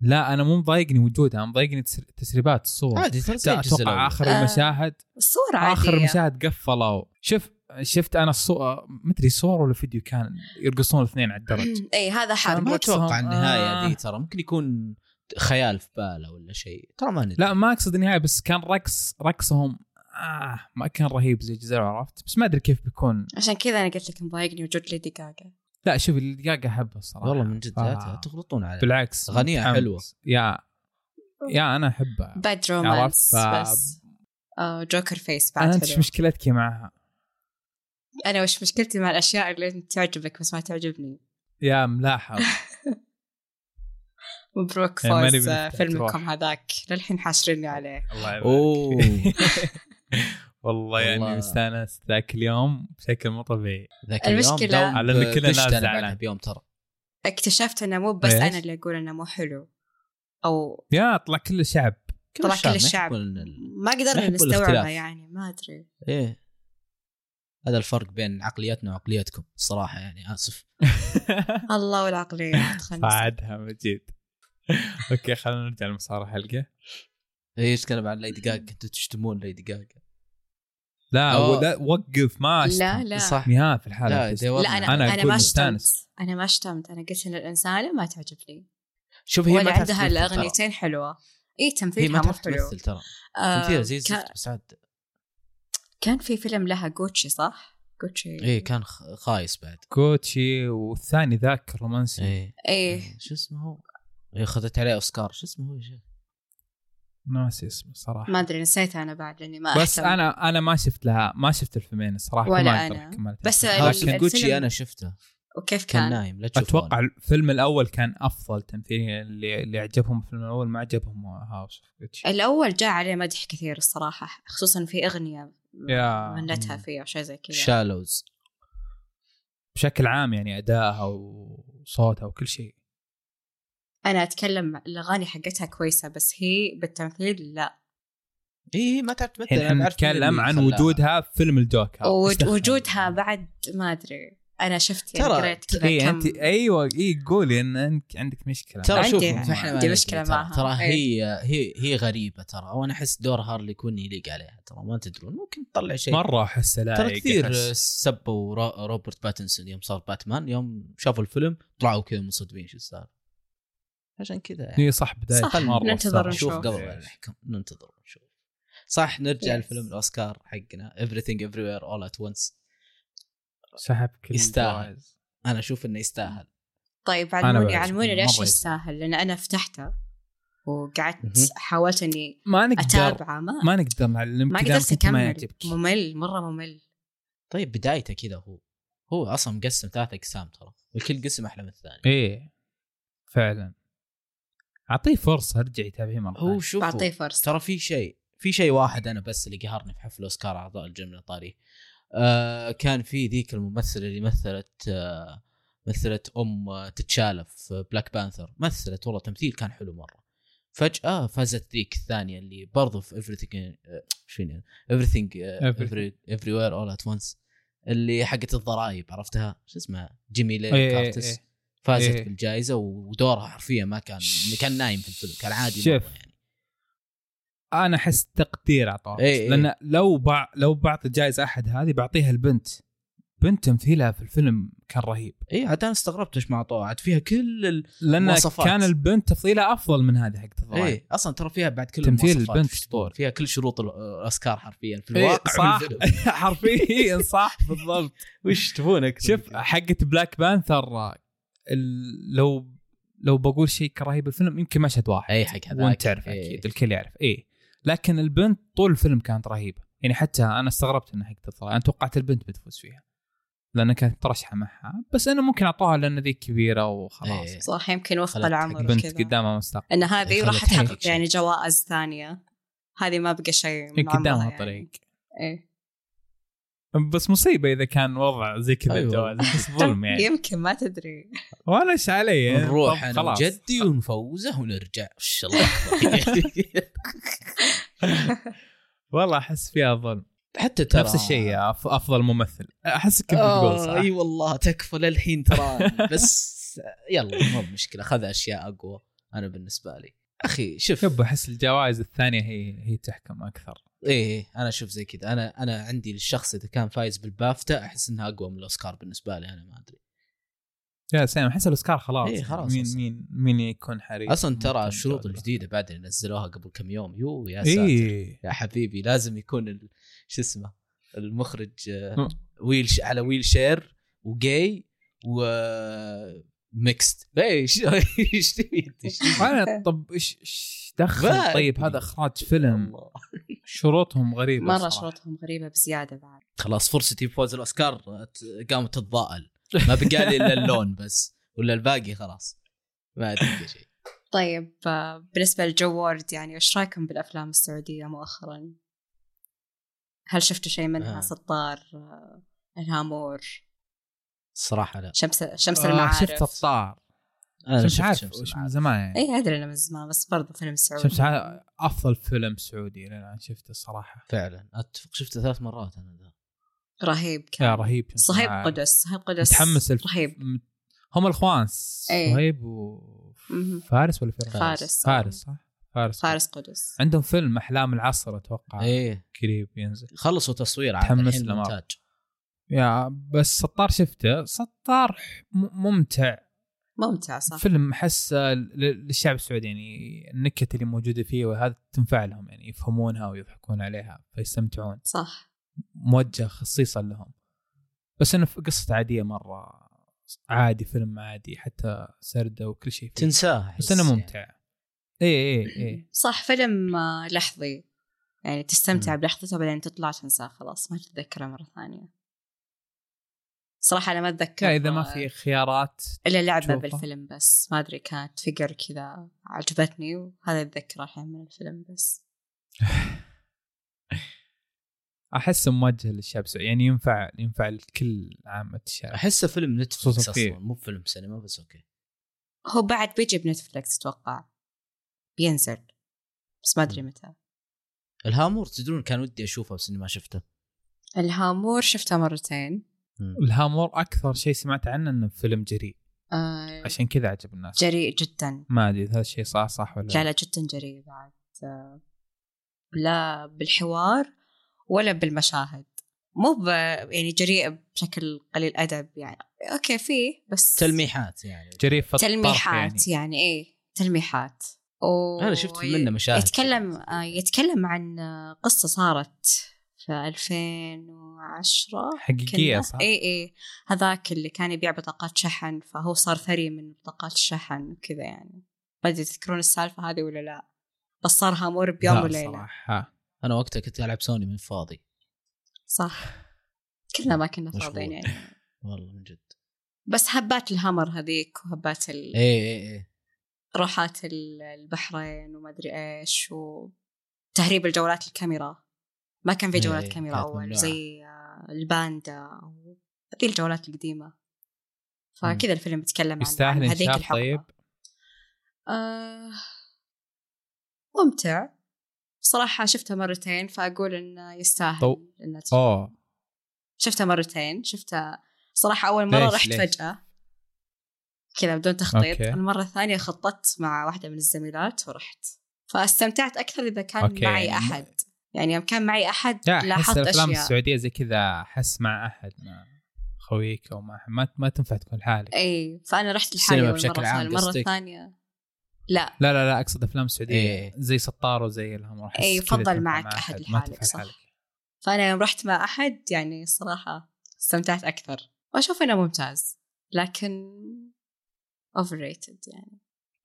[SPEAKER 1] لا انا مو مضايقني وجودها أنا مضايقني تسر- تسريبات الصور
[SPEAKER 2] عادي ترى زي الجزء
[SPEAKER 1] اتوقع
[SPEAKER 2] الأول.
[SPEAKER 1] اخر
[SPEAKER 3] آه.
[SPEAKER 1] المشاهد
[SPEAKER 3] الصورة عادية
[SPEAKER 1] اخر مشاهد قفلوا شوف شفت انا الصور مدري صور ولا فيديو كان يرقصون الاثنين على الدرج
[SPEAKER 3] اي إيه، هذا حرب
[SPEAKER 2] ما اتوقع
[SPEAKER 1] مكسهم.
[SPEAKER 2] النهايه
[SPEAKER 1] آه.
[SPEAKER 2] ذي ترى ممكن يكون خيال في باله ولا شيء ترى ما ندري
[SPEAKER 1] لا ما اقصد النهايه بس كان رقص رقصهم آه ما كان رهيب زي الجزء عرفت بس ما ادري كيف بيكون
[SPEAKER 3] عشان كذا انا قلت لك مضايقني وجود ليدي جاجا
[SPEAKER 1] لا شوف الدقاقة احبها الصراحه
[SPEAKER 2] والله من جد لا
[SPEAKER 1] آه.
[SPEAKER 2] ت- تغلطون على
[SPEAKER 1] بالعكس
[SPEAKER 2] أغانيها
[SPEAKER 1] متحمس.
[SPEAKER 2] حلوة.
[SPEAKER 1] يا يا انا احبها
[SPEAKER 3] باد
[SPEAKER 1] عرفت،
[SPEAKER 3] رومانس
[SPEAKER 1] ف-
[SPEAKER 3] بس آه، جوكر فيس بعد
[SPEAKER 1] انا
[SPEAKER 3] أنا,
[SPEAKER 1] انت إيش مشكلتك معها
[SPEAKER 3] انا وش مشكلتي مع الاشياء اللي أنت تعجبك بس ما تعجبني
[SPEAKER 1] يا
[SPEAKER 3] <laughs>
[SPEAKER 1] ملاحظ
[SPEAKER 3] مبروك
[SPEAKER 1] يعني ماني
[SPEAKER 3] فوز آه،
[SPEAKER 1] بنفتح
[SPEAKER 3] فيلمكم
[SPEAKER 1] تروح.
[SPEAKER 3] هذاك للحين حاشريني عليه
[SPEAKER 1] الله يبارك
[SPEAKER 2] اوه
[SPEAKER 1] <laughs> والله يعني
[SPEAKER 2] والله.
[SPEAKER 1] استانست ذاك اليوم بشكل مو طبيعي
[SPEAKER 2] ذاك اليوم
[SPEAKER 3] المشكلة-
[SPEAKER 2] دوب
[SPEAKER 1] على إن كل الناس
[SPEAKER 2] دشت أنا
[SPEAKER 1] زعلان.
[SPEAKER 2] بعدها بيوم ترى
[SPEAKER 3] اكتشفت انه مو بس
[SPEAKER 1] إيش؟
[SPEAKER 3] انا اللي اقول انه مو حلو او
[SPEAKER 1] يا طلع كل
[SPEAKER 3] <laughs>
[SPEAKER 1] الشعب
[SPEAKER 2] كل
[SPEAKER 3] طلع
[SPEAKER 2] الشعب
[SPEAKER 3] كل
[SPEAKER 2] ما
[SPEAKER 3] الشعب
[SPEAKER 2] يحبون ال-
[SPEAKER 3] ما
[SPEAKER 2] ما
[SPEAKER 3] قدرنا
[SPEAKER 2] يحبوا
[SPEAKER 3] نستوعبها
[SPEAKER 2] الاختلاف.
[SPEAKER 3] يعني ما ادري
[SPEAKER 2] ايه هذا الفرق بين عقليتنا وعقليتكم الصراحه يعني اسف
[SPEAKER 3] الله
[SPEAKER 2] <laughs>
[SPEAKER 3] والعقلية تخنس.
[SPEAKER 1] بعدها مجيد اوكي خلينا نرجع لمسار الحلقه
[SPEAKER 2] ايش كلام عن ليدي جاج كنتوا تشتمون ليدي جاج
[SPEAKER 1] لا
[SPEAKER 2] أوه.
[SPEAKER 1] ولا- وقف ما
[SPEAKER 3] لا
[SPEAKER 1] أشتم.
[SPEAKER 3] لا
[SPEAKER 2] صح
[SPEAKER 1] نهاية في الحالة
[SPEAKER 2] آه. لا،
[SPEAKER 1] تست-
[SPEAKER 2] دي
[SPEAKER 3] لا انا
[SPEAKER 1] أنا
[SPEAKER 3] انا,
[SPEAKER 1] أقول
[SPEAKER 3] ما
[SPEAKER 1] مستانس.
[SPEAKER 3] شتمت انا ما شتمت انا قلت ان الانسانه ما تعجبني
[SPEAKER 2] شوف هي ما
[SPEAKER 3] ولا
[SPEAKER 2] تعرف
[SPEAKER 3] عندها
[SPEAKER 2] تمثل ترى.
[SPEAKER 3] الاغنيتين حلوه اي
[SPEAKER 2] هي
[SPEAKER 3] تمثيلها
[SPEAKER 2] ما
[SPEAKER 3] مو
[SPEAKER 2] تعرف
[SPEAKER 3] حلو
[SPEAKER 2] تمثل ترى
[SPEAKER 3] آه،
[SPEAKER 2] تمثيلها زي
[SPEAKER 3] كان,
[SPEAKER 2] الزفت بس عاد
[SPEAKER 3] كان في فيلم لها جوتشي صح؟ جوتشي
[SPEAKER 2] اي إيه، كان خ- خايس بعد
[SPEAKER 1] كوتشي والثاني ذاك الرومانسي
[SPEAKER 2] اي
[SPEAKER 3] ايه
[SPEAKER 2] إيه، شو اسمه هو؟ إيه، اخذت عليه اوسكار شو اسمه هو يا شيخ؟
[SPEAKER 1] ناسي اسمه صراحة
[SPEAKER 3] ما ادري نسيت انا بعد لاني ما
[SPEAKER 1] بس
[SPEAKER 3] أهتم.
[SPEAKER 1] انا انا ما شفت لها ما شفت الفيلمين الصراحه
[SPEAKER 3] ولا
[SPEAKER 1] ما أقدر
[SPEAKER 3] أنا.
[SPEAKER 1] أكمل.
[SPEAKER 3] بس ال-
[SPEAKER 2] لكن
[SPEAKER 3] الفيلم-
[SPEAKER 2] جوتشي انا شفته
[SPEAKER 3] وكيف
[SPEAKER 2] كان
[SPEAKER 3] آه، كان؟
[SPEAKER 2] نايم لا تشوفه
[SPEAKER 1] اتوقع الفيلم الاول كان افضل تمثيل اللي اللي عجبهم الفيلم الاول ما عجبهم هاوس
[SPEAKER 3] الاول جاء عليه مدح كثير الصراحه خصوصا في اغنيه
[SPEAKER 1] يا-
[SPEAKER 3] غنتها
[SPEAKER 2] مم.
[SPEAKER 3] فيه او شيء زي كذا
[SPEAKER 2] شالوز
[SPEAKER 1] بشكل عام يعني ادائها وصوتها وكل شيء
[SPEAKER 3] انا اتكلم الاغاني حقتها كويسه بس هي بالتمثيل لا
[SPEAKER 2] اي إيه، ما تعرف تمثل
[SPEAKER 1] الحين احنا نتكلم عن وجودها في فيلم الجوكر إيش
[SPEAKER 3] ووج-
[SPEAKER 1] دخل؟
[SPEAKER 3] وجودها بعد ما ادري انا شفت يعني
[SPEAKER 2] ترى-
[SPEAKER 3] قريت كذا
[SPEAKER 1] اي
[SPEAKER 3] كم
[SPEAKER 1] انت ايوه اي قولي ان انت عندك مشكله
[SPEAKER 2] ترى
[SPEAKER 3] عندي-
[SPEAKER 2] شوف
[SPEAKER 3] عندي
[SPEAKER 2] احنا ما ندري
[SPEAKER 3] مشكلة
[SPEAKER 2] ترى-
[SPEAKER 3] معها.
[SPEAKER 2] ترى
[SPEAKER 3] إيه.
[SPEAKER 2] هي هي هي غريبه ترى وانا احس دور هارلي كوين يليق عليها ترى ما تدرون ممكن تطلع شيء
[SPEAKER 1] مره احس لا
[SPEAKER 2] ترى كثير سبوا رو- روبرت باتنسون يوم صار باتمان يوم شافوا الفيلم طلعوا كذا منصدمين شو السالفه عشان كذا يعني
[SPEAKER 1] اي إيه، صح بدايه
[SPEAKER 3] صح،
[SPEAKER 1] مره
[SPEAKER 3] ننتظر
[SPEAKER 1] صار.
[SPEAKER 3] نشوف.
[SPEAKER 2] نشوف قبل
[SPEAKER 1] إيه.
[SPEAKER 2] ما نحكم ننتظر ونشوف صح نرجع
[SPEAKER 3] Yes.
[SPEAKER 2] لفيلم الاوسكار حقنا everything everywhere all at once
[SPEAKER 1] سحب كل
[SPEAKER 2] يستاهل.
[SPEAKER 1] الجوائز.
[SPEAKER 2] انا اشوف انه يستاهل
[SPEAKER 3] طيب
[SPEAKER 1] أنا
[SPEAKER 3] علموني
[SPEAKER 1] بعرف،
[SPEAKER 3] علموني
[SPEAKER 1] مرة
[SPEAKER 3] ليش
[SPEAKER 1] يسهل.
[SPEAKER 3] يستاهل لان انا فتحته وقعدت
[SPEAKER 2] مهم.
[SPEAKER 3] حاولت اني
[SPEAKER 1] ما نقدر
[SPEAKER 3] اتابعه ما
[SPEAKER 1] ما نقدر نعلمك
[SPEAKER 3] ما
[SPEAKER 1] إذا
[SPEAKER 3] قدرت
[SPEAKER 1] كنت ما
[SPEAKER 3] اكمل
[SPEAKER 1] يعجبك
[SPEAKER 3] ممل مره ممل
[SPEAKER 2] طيب بدايته كذا هو هو اصلا مقسم ثلاث اقسام ترى وكل قسم احلى من الثاني
[SPEAKER 1] ايه فعلا اعطيه فرصه ارجع يتابعيه مره
[SPEAKER 2] هو
[SPEAKER 1] ثانية.
[SPEAKER 2] شوف
[SPEAKER 3] بعطيه فرصه
[SPEAKER 2] ترى في شيء في شيء واحد انا بس اللي قهرني في حفل اوسكار اعضاء الجمله طاري آه كان في ذيك الممثله اللي مثلت آه مثلت ام آه، تتشالى في بلاك بانثر مثلت والله تمثيل كان حلو مره فجاه فازت ذيك الثانيه اللي برضو في everything آه، شو يعني everything آه،
[SPEAKER 1] Everything.
[SPEAKER 2] every- everywhere all at once اللي حقت الضرائب عرفتها شو اسمها جيمي لي
[SPEAKER 1] إيه، إيه،
[SPEAKER 2] كارتس
[SPEAKER 1] إيه.
[SPEAKER 2] فازت
[SPEAKER 1] إيه.
[SPEAKER 2] بالجائزه ودورها حرفيا ما كان كان نايم في الفيلم كان عادي مرة
[SPEAKER 1] شوف.
[SPEAKER 2] يعني
[SPEAKER 1] انا احس تقدير اعطاه
[SPEAKER 2] إيه، إيه.
[SPEAKER 1] لان لو بع... لو بعطي جائزه احد هذه بعطيها البنت بنت تمثيلها في الفيلم كان رهيب
[SPEAKER 2] اي إيه، عاد انا استغربت ايش ما اعطوه عاد فيها كل ال...
[SPEAKER 1] لان
[SPEAKER 2] مواصفات.
[SPEAKER 1] كان البنت تفضيلها افضل من هذه إيه، حقت الضرائب
[SPEAKER 2] اي اصلا إيه، ترى فيها بعد كل
[SPEAKER 1] تمثيل
[SPEAKER 2] المواصفات
[SPEAKER 1] البنت
[SPEAKER 2] في الشطور.
[SPEAKER 1] أسطوري.
[SPEAKER 2] فيها كل شروط ال- الاوسكار حرفيا في
[SPEAKER 1] إيه،
[SPEAKER 2] الواقع
[SPEAKER 1] صح <laughs>
[SPEAKER 2] والفيلم.
[SPEAKER 1] حرفيا
[SPEAKER 2] <laughs>
[SPEAKER 1] صح بالضبط
[SPEAKER 2] وش تبونك <laughs>
[SPEAKER 1] شوف حقت بلاك بانثر ال- لو لو بقول شيء كرهيب الفيلم يمكن مشهد واحد
[SPEAKER 2] اي إيه، حق هذا
[SPEAKER 1] وانت تعرف
[SPEAKER 2] إيه.
[SPEAKER 1] اكيد الكل يعرف ايه لكن البنت طول الفيلم كانت رهيبه يعني حتى انا استغربت انها حقت الطلاق انا توقعت البنت بتفوز فيها لان كانت مترشحه معها بس انا ممكن اعطوها لان ذيك كبيره وخلاص
[SPEAKER 2] إيه.
[SPEAKER 3] صح يمكن وفق
[SPEAKER 2] خلت
[SPEAKER 3] العمر
[SPEAKER 1] البنت
[SPEAKER 3] كذا
[SPEAKER 1] قدامها مستقبل
[SPEAKER 3] ان هذه
[SPEAKER 2] خلت
[SPEAKER 3] راح
[SPEAKER 2] حقك
[SPEAKER 3] تحقق
[SPEAKER 2] شيء.
[SPEAKER 3] يعني جوائز ثانيه هذه ما بقى شيء من عمرها
[SPEAKER 1] قدامها
[SPEAKER 3] يعني.
[SPEAKER 1] طريق
[SPEAKER 3] إيه.
[SPEAKER 1] بس مصيبه اذا كان وضع زي كذا
[SPEAKER 2] أيوة.
[SPEAKER 1] الجواز بس
[SPEAKER 3] <laughs>
[SPEAKER 1] ظلم يعني إيه،
[SPEAKER 3] يمكن ما تدري
[SPEAKER 1] وانا ايش علي
[SPEAKER 2] نروح
[SPEAKER 1] طب
[SPEAKER 2] انا وجدي ونفوزه ونرجع ان شاء الله أكبر. <laughs>
[SPEAKER 1] والله احس فيها ظلم
[SPEAKER 2] حتى ترى
[SPEAKER 1] نفس الشيء يا أف- افضل ممثل احس كنت بتقول
[SPEAKER 2] آه،
[SPEAKER 1] صح
[SPEAKER 2] اي والله تكفى للحين ترى بس يلا مو مشكله خذ اشياء اقوى انا بالنسبه لي اخي شوف
[SPEAKER 1] يب احس الجوائز الثانيه هي هي تحكم اكثر
[SPEAKER 2] ايه انا اشوف زي كذا انا انا عندي الشخص اذا كان فايز بالبافتا احس انها اقوى من الاوسكار بالنسبه لي انا ما ادري
[SPEAKER 1] يا سام احس الاوسكار خلاص
[SPEAKER 2] إيه، خلاص
[SPEAKER 1] مين
[SPEAKER 2] أصلاً.
[SPEAKER 1] مين مين يكون حريص
[SPEAKER 2] اصلا ترى
[SPEAKER 1] ممكن
[SPEAKER 2] الشروط
[SPEAKER 1] يدور.
[SPEAKER 2] الجديده بعد اللي نزلوها قبل كم يوم يو يا ساتر
[SPEAKER 1] اي
[SPEAKER 2] يا حبيبي لازم يكون ال- شو اسمه المخرج آه،
[SPEAKER 1] م.
[SPEAKER 2] ويل ش- على ويل شير وجاي و ميكست ايش ايش تبي أنت؟ <laughs> إيش تبي؟
[SPEAKER 3] <laughs>
[SPEAKER 1] انا طب ايش ايش دخل
[SPEAKER 2] ما
[SPEAKER 1] طيب
[SPEAKER 2] أدري.
[SPEAKER 1] هذا اخراج فيلم
[SPEAKER 2] الله.
[SPEAKER 1] شروطهم غريبه
[SPEAKER 3] مره
[SPEAKER 1] صراحة.
[SPEAKER 3] شروطهم غريبه بزياده بعد
[SPEAKER 2] خلاص فرصتي بفوز الاوسكار آه، ت- قامت تتضاءل ما بقى لي الا اللون بس ولا الباقي خلاص ما ادري شيء
[SPEAKER 3] طيب آه، بالنسبه للجوورد يعني وش رايكم بالافلام السعوديه مؤخرا هل شفتوا شيء منها
[SPEAKER 2] آه.
[SPEAKER 3] سطار آه، الهامور
[SPEAKER 2] الصراحه لا
[SPEAKER 3] شمس شمس
[SPEAKER 1] آه،
[SPEAKER 3] المعارف
[SPEAKER 1] شفت الطار
[SPEAKER 2] انا
[SPEAKER 1] شمس عارف
[SPEAKER 2] شمس
[SPEAKER 1] وش من
[SPEAKER 2] عارف.
[SPEAKER 1] زمان يعني
[SPEAKER 3] اي ادري انا من زمان بس برضه فيلم سعودي
[SPEAKER 1] شمس عاد افضل فيلم سعودي اللي انا شفته الصراحه
[SPEAKER 2] فعلا اتفق شفته ثلاث مرات انا ذا
[SPEAKER 3] رهيب كان
[SPEAKER 1] يا رهيب شمس
[SPEAKER 3] صهيب
[SPEAKER 1] عاد.
[SPEAKER 3] قدس صهيب قدس
[SPEAKER 1] متحمس الف-
[SPEAKER 3] رهيب
[SPEAKER 1] م- هم الاخوان
[SPEAKER 3] إيه.
[SPEAKER 1] صهيب
[SPEAKER 3] مهم.
[SPEAKER 1] وفارس ولا فارس؟
[SPEAKER 3] فارس.
[SPEAKER 1] فارس صح؟ فارس
[SPEAKER 3] فارس قدس
[SPEAKER 1] عندهم فيلم احلام العصر اتوقع
[SPEAKER 2] ايه
[SPEAKER 1] قريب ينزل
[SPEAKER 2] خلصوا تصوير عاد
[SPEAKER 1] آه. تحمس
[SPEAKER 2] الحين
[SPEAKER 1] له مرة.
[SPEAKER 2] مونتاج
[SPEAKER 1] يا بس سطار شفته سطار م- ممتع
[SPEAKER 3] ممتع صح
[SPEAKER 1] فيلم احس ل- للشعب السعودي يعني النكت اللي موجوده فيه وهذا تنفع لهم يعني يفهمونها ويضحكون عليها فيستمتعون
[SPEAKER 3] صح
[SPEAKER 1] موجه خصيصا لهم بس انه في قصة عادية مرة عادي فيلم عادي حتى سردة وكل شيء فيه.
[SPEAKER 2] تنساه أحس يعني.
[SPEAKER 1] بس انه ممتع إيه، اي
[SPEAKER 3] يعني
[SPEAKER 1] اي اي
[SPEAKER 3] صح فيلم آه، لحظي يعني تستمتع
[SPEAKER 2] مم.
[SPEAKER 3] بلحظته بعدين تطلع تنساه خلاص ما تتذكره مرة ثانية صراحة أنا ما أتذكر
[SPEAKER 1] اذا يعني ما في خيارات
[SPEAKER 3] إلا لعبة
[SPEAKER 1] تشوفه.
[SPEAKER 3] بالفيلم بس ما أدري كانت فقر كذا عجبتني وهذا أتذكره الحين من الفيلم بس
[SPEAKER 1] احس موجه للشعب السعودي يعني ينفع ينفع لكل عامة الشعب
[SPEAKER 2] احسه فيلم نتفلكس
[SPEAKER 1] خصوصاً فيه.
[SPEAKER 2] اصلا مو فيلم سينما بس اوكي
[SPEAKER 3] هو بعد بيجي بنتفلكس أتوقع بينزل بس ما أدري متى
[SPEAKER 2] الهامور تدرون كان ودي اشوفه بس اني ما شفته
[SPEAKER 3] الهامور شفته مرتين
[SPEAKER 1] الهامور اكثر شيء سمعت عنه انه فيلم جريء
[SPEAKER 3] آه
[SPEAKER 1] عشان كذا عجب الناس
[SPEAKER 3] جريء جدا
[SPEAKER 1] ما ادري إذا هذا الشيء صح صح ولا
[SPEAKER 3] لا لا جدا جريء بعد آه، لا بالحوار ولا بالمشاهد مو ب... يعني جريء بشكل قليل ادب يعني اوكي فيه بس
[SPEAKER 2] تلميحات يعني
[SPEAKER 1] جريء في الطرف
[SPEAKER 3] تلميحات
[SPEAKER 1] يعني.
[SPEAKER 3] يعني, ايه تلميحات و...
[SPEAKER 2] أنا شفت منه مشاهد.
[SPEAKER 3] يتكلم آه، يتكلم عن آه، قصه صارت في 2010
[SPEAKER 1] حقيقية
[SPEAKER 3] كنا-
[SPEAKER 1] صح؟
[SPEAKER 3] اي اي إيه، هذاك اللي كان يبيع بطاقات شحن فهو صار ثري من بطاقات الشحن وكذا يعني ما ادري تذكرون السالفه هذه ولا لا بس صار هامور بيوم
[SPEAKER 1] لا،
[SPEAKER 3] وليله
[SPEAKER 1] صراحة
[SPEAKER 2] انا وقتها كنت العب سوني من فاضي
[SPEAKER 3] صح كلنا ما كنا
[SPEAKER 2] مشغول.
[SPEAKER 3] فاضيين يعني
[SPEAKER 2] والله من جد
[SPEAKER 3] بس هبات الهامر هذيك وهبات ال...
[SPEAKER 2] ايه ايه ايه
[SPEAKER 3] روحات ال- البحرين وما ادري ايش وتهريب الجولات الكاميرا ما كان في
[SPEAKER 2] إيه،
[SPEAKER 3] جولات
[SPEAKER 2] إيه،
[SPEAKER 3] كاميرا
[SPEAKER 2] كانت
[SPEAKER 3] اول
[SPEAKER 2] ممنوعة.
[SPEAKER 3] زي آه، الباندا و- هذه الجولات القديمه فكذا الفيلم يتكلم عن- عن
[SPEAKER 1] يستاهل
[SPEAKER 3] هذيك
[SPEAKER 1] انشاف
[SPEAKER 3] الحقبه
[SPEAKER 1] طيب
[SPEAKER 3] آه ممتع صراحة شفتها مرتين فأقول إنه يستاهل
[SPEAKER 1] طو-
[SPEAKER 3] إنه تشوف.
[SPEAKER 1] اوه
[SPEAKER 3] شفتها مرتين شفتها صراحة أول مرة
[SPEAKER 1] ليش-
[SPEAKER 3] رحت
[SPEAKER 1] ليش؟
[SPEAKER 3] فجأة كذا بدون تخطيط
[SPEAKER 1] أوكي.
[SPEAKER 3] المرة الثانية خططت مع واحدة من الزميلات ورحت فاستمتعت أكثر إذا كان
[SPEAKER 1] أوكي.
[SPEAKER 3] معي أحد يعني يوم كان معي أحد
[SPEAKER 1] لا احس
[SPEAKER 3] لاحظت
[SPEAKER 1] الافلام
[SPEAKER 3] أشياء
[SPEAKER 1] السعوديه زي كذا احس مع احد مع خويك او مع أحد. ما ما تنفع تكون لحالك
[SPEAKER 3] أي فأنا رحت
[SPEAKER 2] السينما
[SPEAKER 3] لحالي أول
[SPEAKER 2] بشكل
[SPEAKER 3] مرة
[SPEAKER 2] عام
[SPEAKER 3] ثانية المرة
[SPEAKER 2] قصدك؟
[SPEAKER 3] الثانية لا
[SPEAKER 1] لا لا لا اقصد افلام سعوديه
[SPEAKER 2] إيه.
[SPEAKER 1] زي سطار وزي الهم أحس
[SPEAKER 3] إيه،
[SPEAKER 1] كذا
[SPEAKER 3] فضل
[SPEAKER 1] تنفع
[SPEAKER 3] معك
[SPEAKER 1] مع
[SPEAKER 3] أحد
[SPEAKER 1] ما
[SPEAKER 3] لحالك،
[SPEAKER 1] تنفع
[SPEAKER 3] صح. فأنا يوم رحت مع أحد يعني صراحة استمتعت أكثر وأشوف إنه ممتاز لكن overrated يعني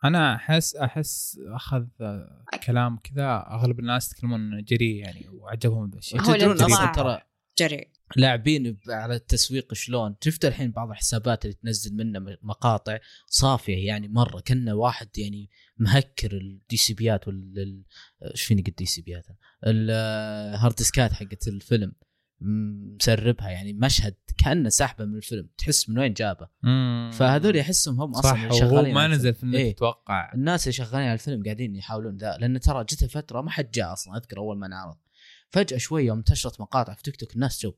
[SPEAKER 1] انا احس احس اخذ آه، كلام كذا اغلب الناس يتكلمون انه جريء يعني وعجبهم ذا الشيء
[SPEAKER 3] هو
[SPEAKER 2] وتدرون اصلا
[SPEAKER 3] الانطباع.
[SPEAKER 2] ترى
[SPEAKER 3] جريء
[SPEAKER 2] لاعبين ب- على التسويق شلون شفت الحين بعض الحسابات اللي تنزل منه م- مقاطع صافيه يعني مره كنا واحد يعني مهكر الدي سي بيات ولا ال- ايش فيني قد دي سي بيات الهارد ديسكات حقت الفيلم م- مسربها يعني مشهد كانه سحبه من الفيلم تحس من وين جابه
[SPEAKER 1] مم.
[SPEAKER 2] فهذول احسهم هم اصلا
[SPEAKER 1] صح
[SPEAKER 2] اللي
[SPEAKER 1] وهو
[SPEAKER 2] شغالين
[SPEAKER 1] ما
[SPEAKER 2] على
[SPEAKER 1] نزل
[SPEAKER 2] الفيلم.
[SPEAKER 1] في النت
[SPEAKER 2] إيه.
[SPEAKER 1] اتوقع
[SPEAKER 2] الناس اللي شغالين على الفيلم قاعدين يحاولون ذا لان ترى جته فتره ما حد جاء اصلا اذكر اول ما انعرض فجاه شوي يوم انتشرت مقاطع في تيك توك الناس جو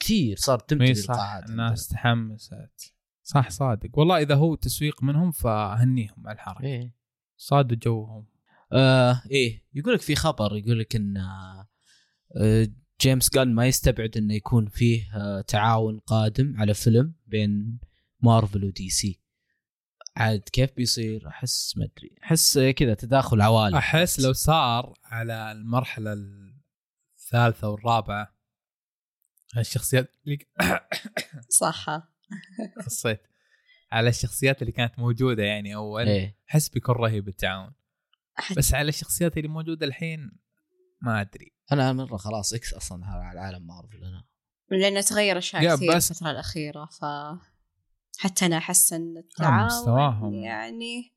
[SPEAKER 2] كثير صار تمتلي
[SPEAKER 1] اي إيه، صح
[SPEAKER 2] القاعات
[SPEAKER 1] الناس تحمست صح صادق والله اذا هو تسويق منهم فاهنيهم على الحركه
[SPEAKER 2] ايه
[SPEAKER 1] صادوا جوهم
[SPEAKER 2] آه ايه يقول لك في خبر يقول لك ان آه، آه، جيمس جان ما يستبعد انه يكون فيه آه، تعاون قادم على فيلم بين مارفل ودي سي عاد كيف بيصير احس ما ادري احس آه، كذا تداخل عوالم
[SPEAKER 1] احس لو صار على المرحله الثالثه والرابعه الشخصيات اللي <laughs>
[SPEAKER 3] صح
[SPEAKER 1] قصيت على الشخصيات اللي كانت موجوده يعني اول
[SPEAKER 2] ايه
[SPEAKER 1] احس بيكون رهيب التعاون
[SPEAKER 3] أحس-
[SPEAKER 1] بس على الشخصيات اللي موجوده الحين ما ادري
[SPEAKER 2] انا مره خلاص اكس اصلا على عالم مارفل انا
[SPEAKER 3] لأنه تغير أشياء
[SPEAKER 1] يا
[SPEAKER 3] كثير
[SPEAKER 1] بس-
[SPEAKER 3] الفترة الأخيرة ف حتى أنا أحس إن
[SPEAKER 1] آه، مستواهم.
[SPEAKER 3] التعاون يعني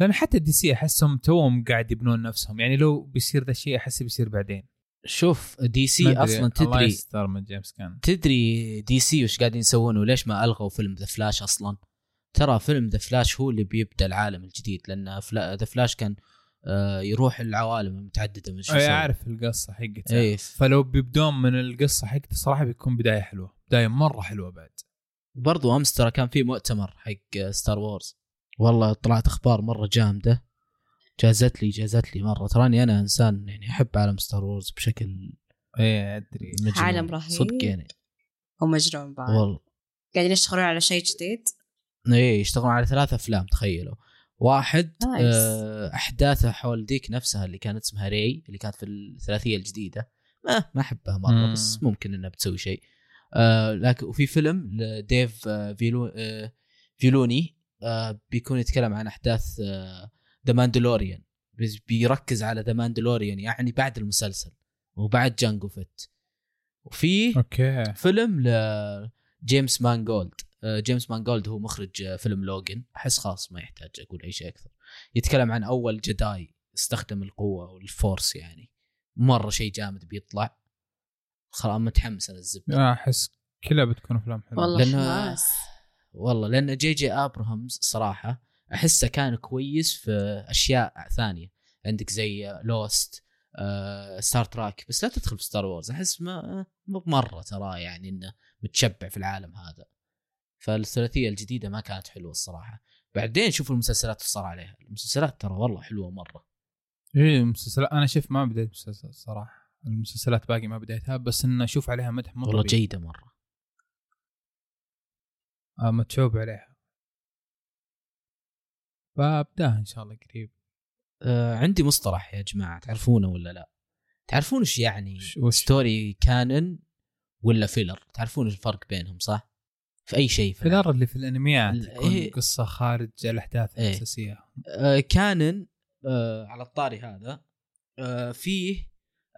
[SPEAKER 1] لان حتى دي سي احسهم توهم قاعد يبنون نفسهم يعني لو بيصير ذا الشيء احس بيصير بعدين
[SPEAKER 2] شوف دي
[SPEAKER 1] ما
[SPEAKER 2] سي
[SPEAKER 1] أدري.
[SPEAKER 2] اصلا
[SPEAKER 1] الله
[SPEAKER 2] تدري
[SPEAKER 1] يستر من جيمس كان
[SPEAKER 2] تدري دي سي وش قاعدين يسوون وليش ما الغوا فيلم ذا فلاش اصلا ترى فيلم ذا فلاش هو اللي بيبدا العالم الجديد لان ذا فلاش كان آه، يروح العوالم المتعدده من شو
[SPEAKER 1] اي
[SPEAKER 2] يسوي.
[SPEAKER 1] اعرف القصه حقته
[SPEAKER 2] ايه
[SPEAKER 1] فلو بيبدون من القصه حقته صراحه بيكون بدايه حلوه بدايه مره حلوه بعد
[SPEAKER 2] برضو امس آه، ترى كان في مؤتمر حق ستار وورز والله طلعت اخبار مره جامده جازت لي جازت لي مره تراني انا انسان يعني احب عالم ستار وورز بشكل إيه،
[SPEAKER 1] ايه ادري
[SPEAKER 2] مجنون
[SPEAKER 3] عالم رهيب.
[SPEAKER 2] صدق يعني
[SPEAKER 3] ومجنون بعد
[SPEAKER 2] والله
[SPEAKER 3] قاعدين يشتغلون على شيء جديد
[SPEAKER 2] ايه يشتغلون على ثلاث افلام تخيلوا واحد
[SPEAKER 3] نايس.
[SPEAKER 2] آه، احداثه حول ذيك نفسها اللي كانت اسمها ري اللي كانت في الثلاثيه الجديده ما ما احبها مره
[SPEAKER 1] مم.
[SPEAKER 2] بس ممكن انها بتسوي شيء آه لكن وفي فيلم لديف آه، فيلو آه فيلوني آه بيكون يتكلم عن آه، احداث ذا ماندلوريان بيركز على ذا ماندلوريان يعني بعد المسلسل وبعد جانجو فيت وفي
[SPEAKER 1] اوكي
[SPEAKER 2] فيلم لجيمس مانجولد آه، جيمس مانجولد هو مخرج آه، فيلم لوجن احس خلاص ما يحتاج اقول اي شيء اكثر يتكلم عن اول جداي استخدم القوه والفورس يعني مره شيء جامد بيطلع خلاص متحمس انا الزبده
[SPEAKER 1] أنا احس كلها بتكون افلام حلوه
[SPEAKER 3] والله
[SPEAKER 2] لأنه-
[SPEAKER 3] حماس
[SPEAKER 2] والله لان جي جي ابراهامز صراحه احسه كان كويس في اشياء ثانيه عندك زي لوست ستار تراك بس لا تدخل في ستار وورز احس ما مو مره ترى يعني انه متشبع في العالم هذا فالثلاثيه الجديده ما كانت حلوه الصراحه بعدين شوف المسلسلات اللي صار عليها المسلسلات ترى والله حلوه مره
[SPEAKER 1] ايه المسلسلات انا شوف ما بديت مسلسل صراحه المسلسلات باقي ما بديتها بس ان اشوف عليها مدح مو
[SPEAKER 2] والله
[SPEAKER 1] طبيعي.
[SPEAKER 2] جيده مره
[SPEAKER 1] آه، متعوب عليها فابداها ان شاء الله
[SPEAKER 2] إيه.
[SPEAKER 1] قريب
[SPEAKER 2] آه، عندي مصطلح يا جماعه تعرفونه ولا لا تعرفون ايش يعني
[SPEAKER 1] وش- وش؟
[SPEAKER 2] ستوري كانن ولا فيلر تعرفون الفرق بينهم صح في اي شيء في العالم.
[SPEAKER 1] فيلر اللي في الانميات
[SPEAKER 2] ال-
[SPEAKER 1] تكون
[SPEAKER 2] إيه.
[SPEAKER 1] قصه خارج الاحداث
[SPEAKER 2] إيه.
[SPEAKER 1] الاساسيه
[SPEAKER 2] آه، كانن آه، على الطاري هذا آه، فيه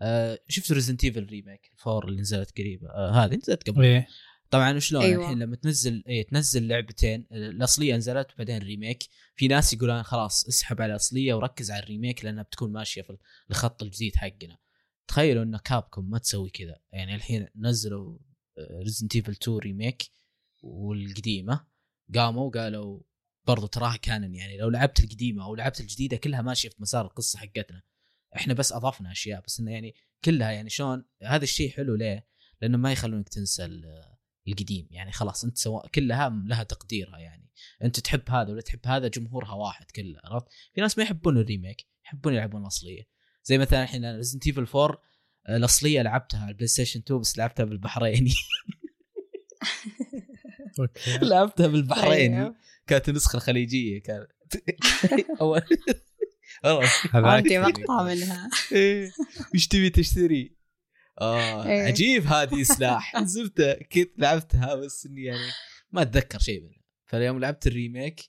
[SPEAKER 2] آه، شفت ريزنت ايفل ريميك الفور اللي نزلت قريبة آه، هذه نزلت قبل
[SPEAKER 1] ايه
[SPEAKER 2] طبعا شلون أيوة.
[SPEAKER 3] أيوة.
[SPEAKER 2] الحين لما تنزل ايه تنزل لعبتين الاصليه نزلت وبعدين الريميك في ناس يقولون خلاص اسحب على الاصليه وركز على الريميك لانها بتكون ماشيه في الخط الجديد حقنا تخيلوا ان كابكم ما تسوي كذا يعني الحين نزلوا آه، ريزنت ايفل 2 ريميك والقديمه قاموا قالوا برضو تراها كانن يعني لو لعبت القديمه او لعبت الجديده كلها ماشيه في مسار القصه حقتنا احنا بس اضفنا اشياء بس انه يعني كلها يعني شلون هذا الشيء حلو ليه؟ لانه ما يخلونك تنسى ال- القديم يعني خلاص انت سواء كلها لها تقديرها يعني انت تحب هذا ولا تحب هذا جمهورها واحد كله عرفت؟ في ناس ما يحبون الريميك يحبون يلعبون الاصليه زي مثلا الحين انا ريزنت ايفل 4 آه، الاصليه لعبتها على البلاي ستيشن 2 بس لعبتها بالبحريني
[SPEAKER 1] اوكي
[SPEAKER 2] <laughs> لعبتها بالبحريني
[SPEAKER 3] طيب.
[SPEAKER 2] كانت النسخه الخليجيه <laughs> كانت اول <laughs> والله
[SPEAKER 1] هذا
[SPEAKER 3] عندي
[SPEAKER 1] أكثر
[SPEAKER 3] مقطع
[SPEAKER 1] يقول.
[SPEAKER 3] منها
[SPEAKER 2] إيه، وش تبي تشتري؟ اه
[SPEAKER 3] إيه.
[SPEAKER 2] عجيب هذه سلاح زبده كنت لعبتها بس اني يعني ما اتذكر شيء منها فاليوم لعبت الريميك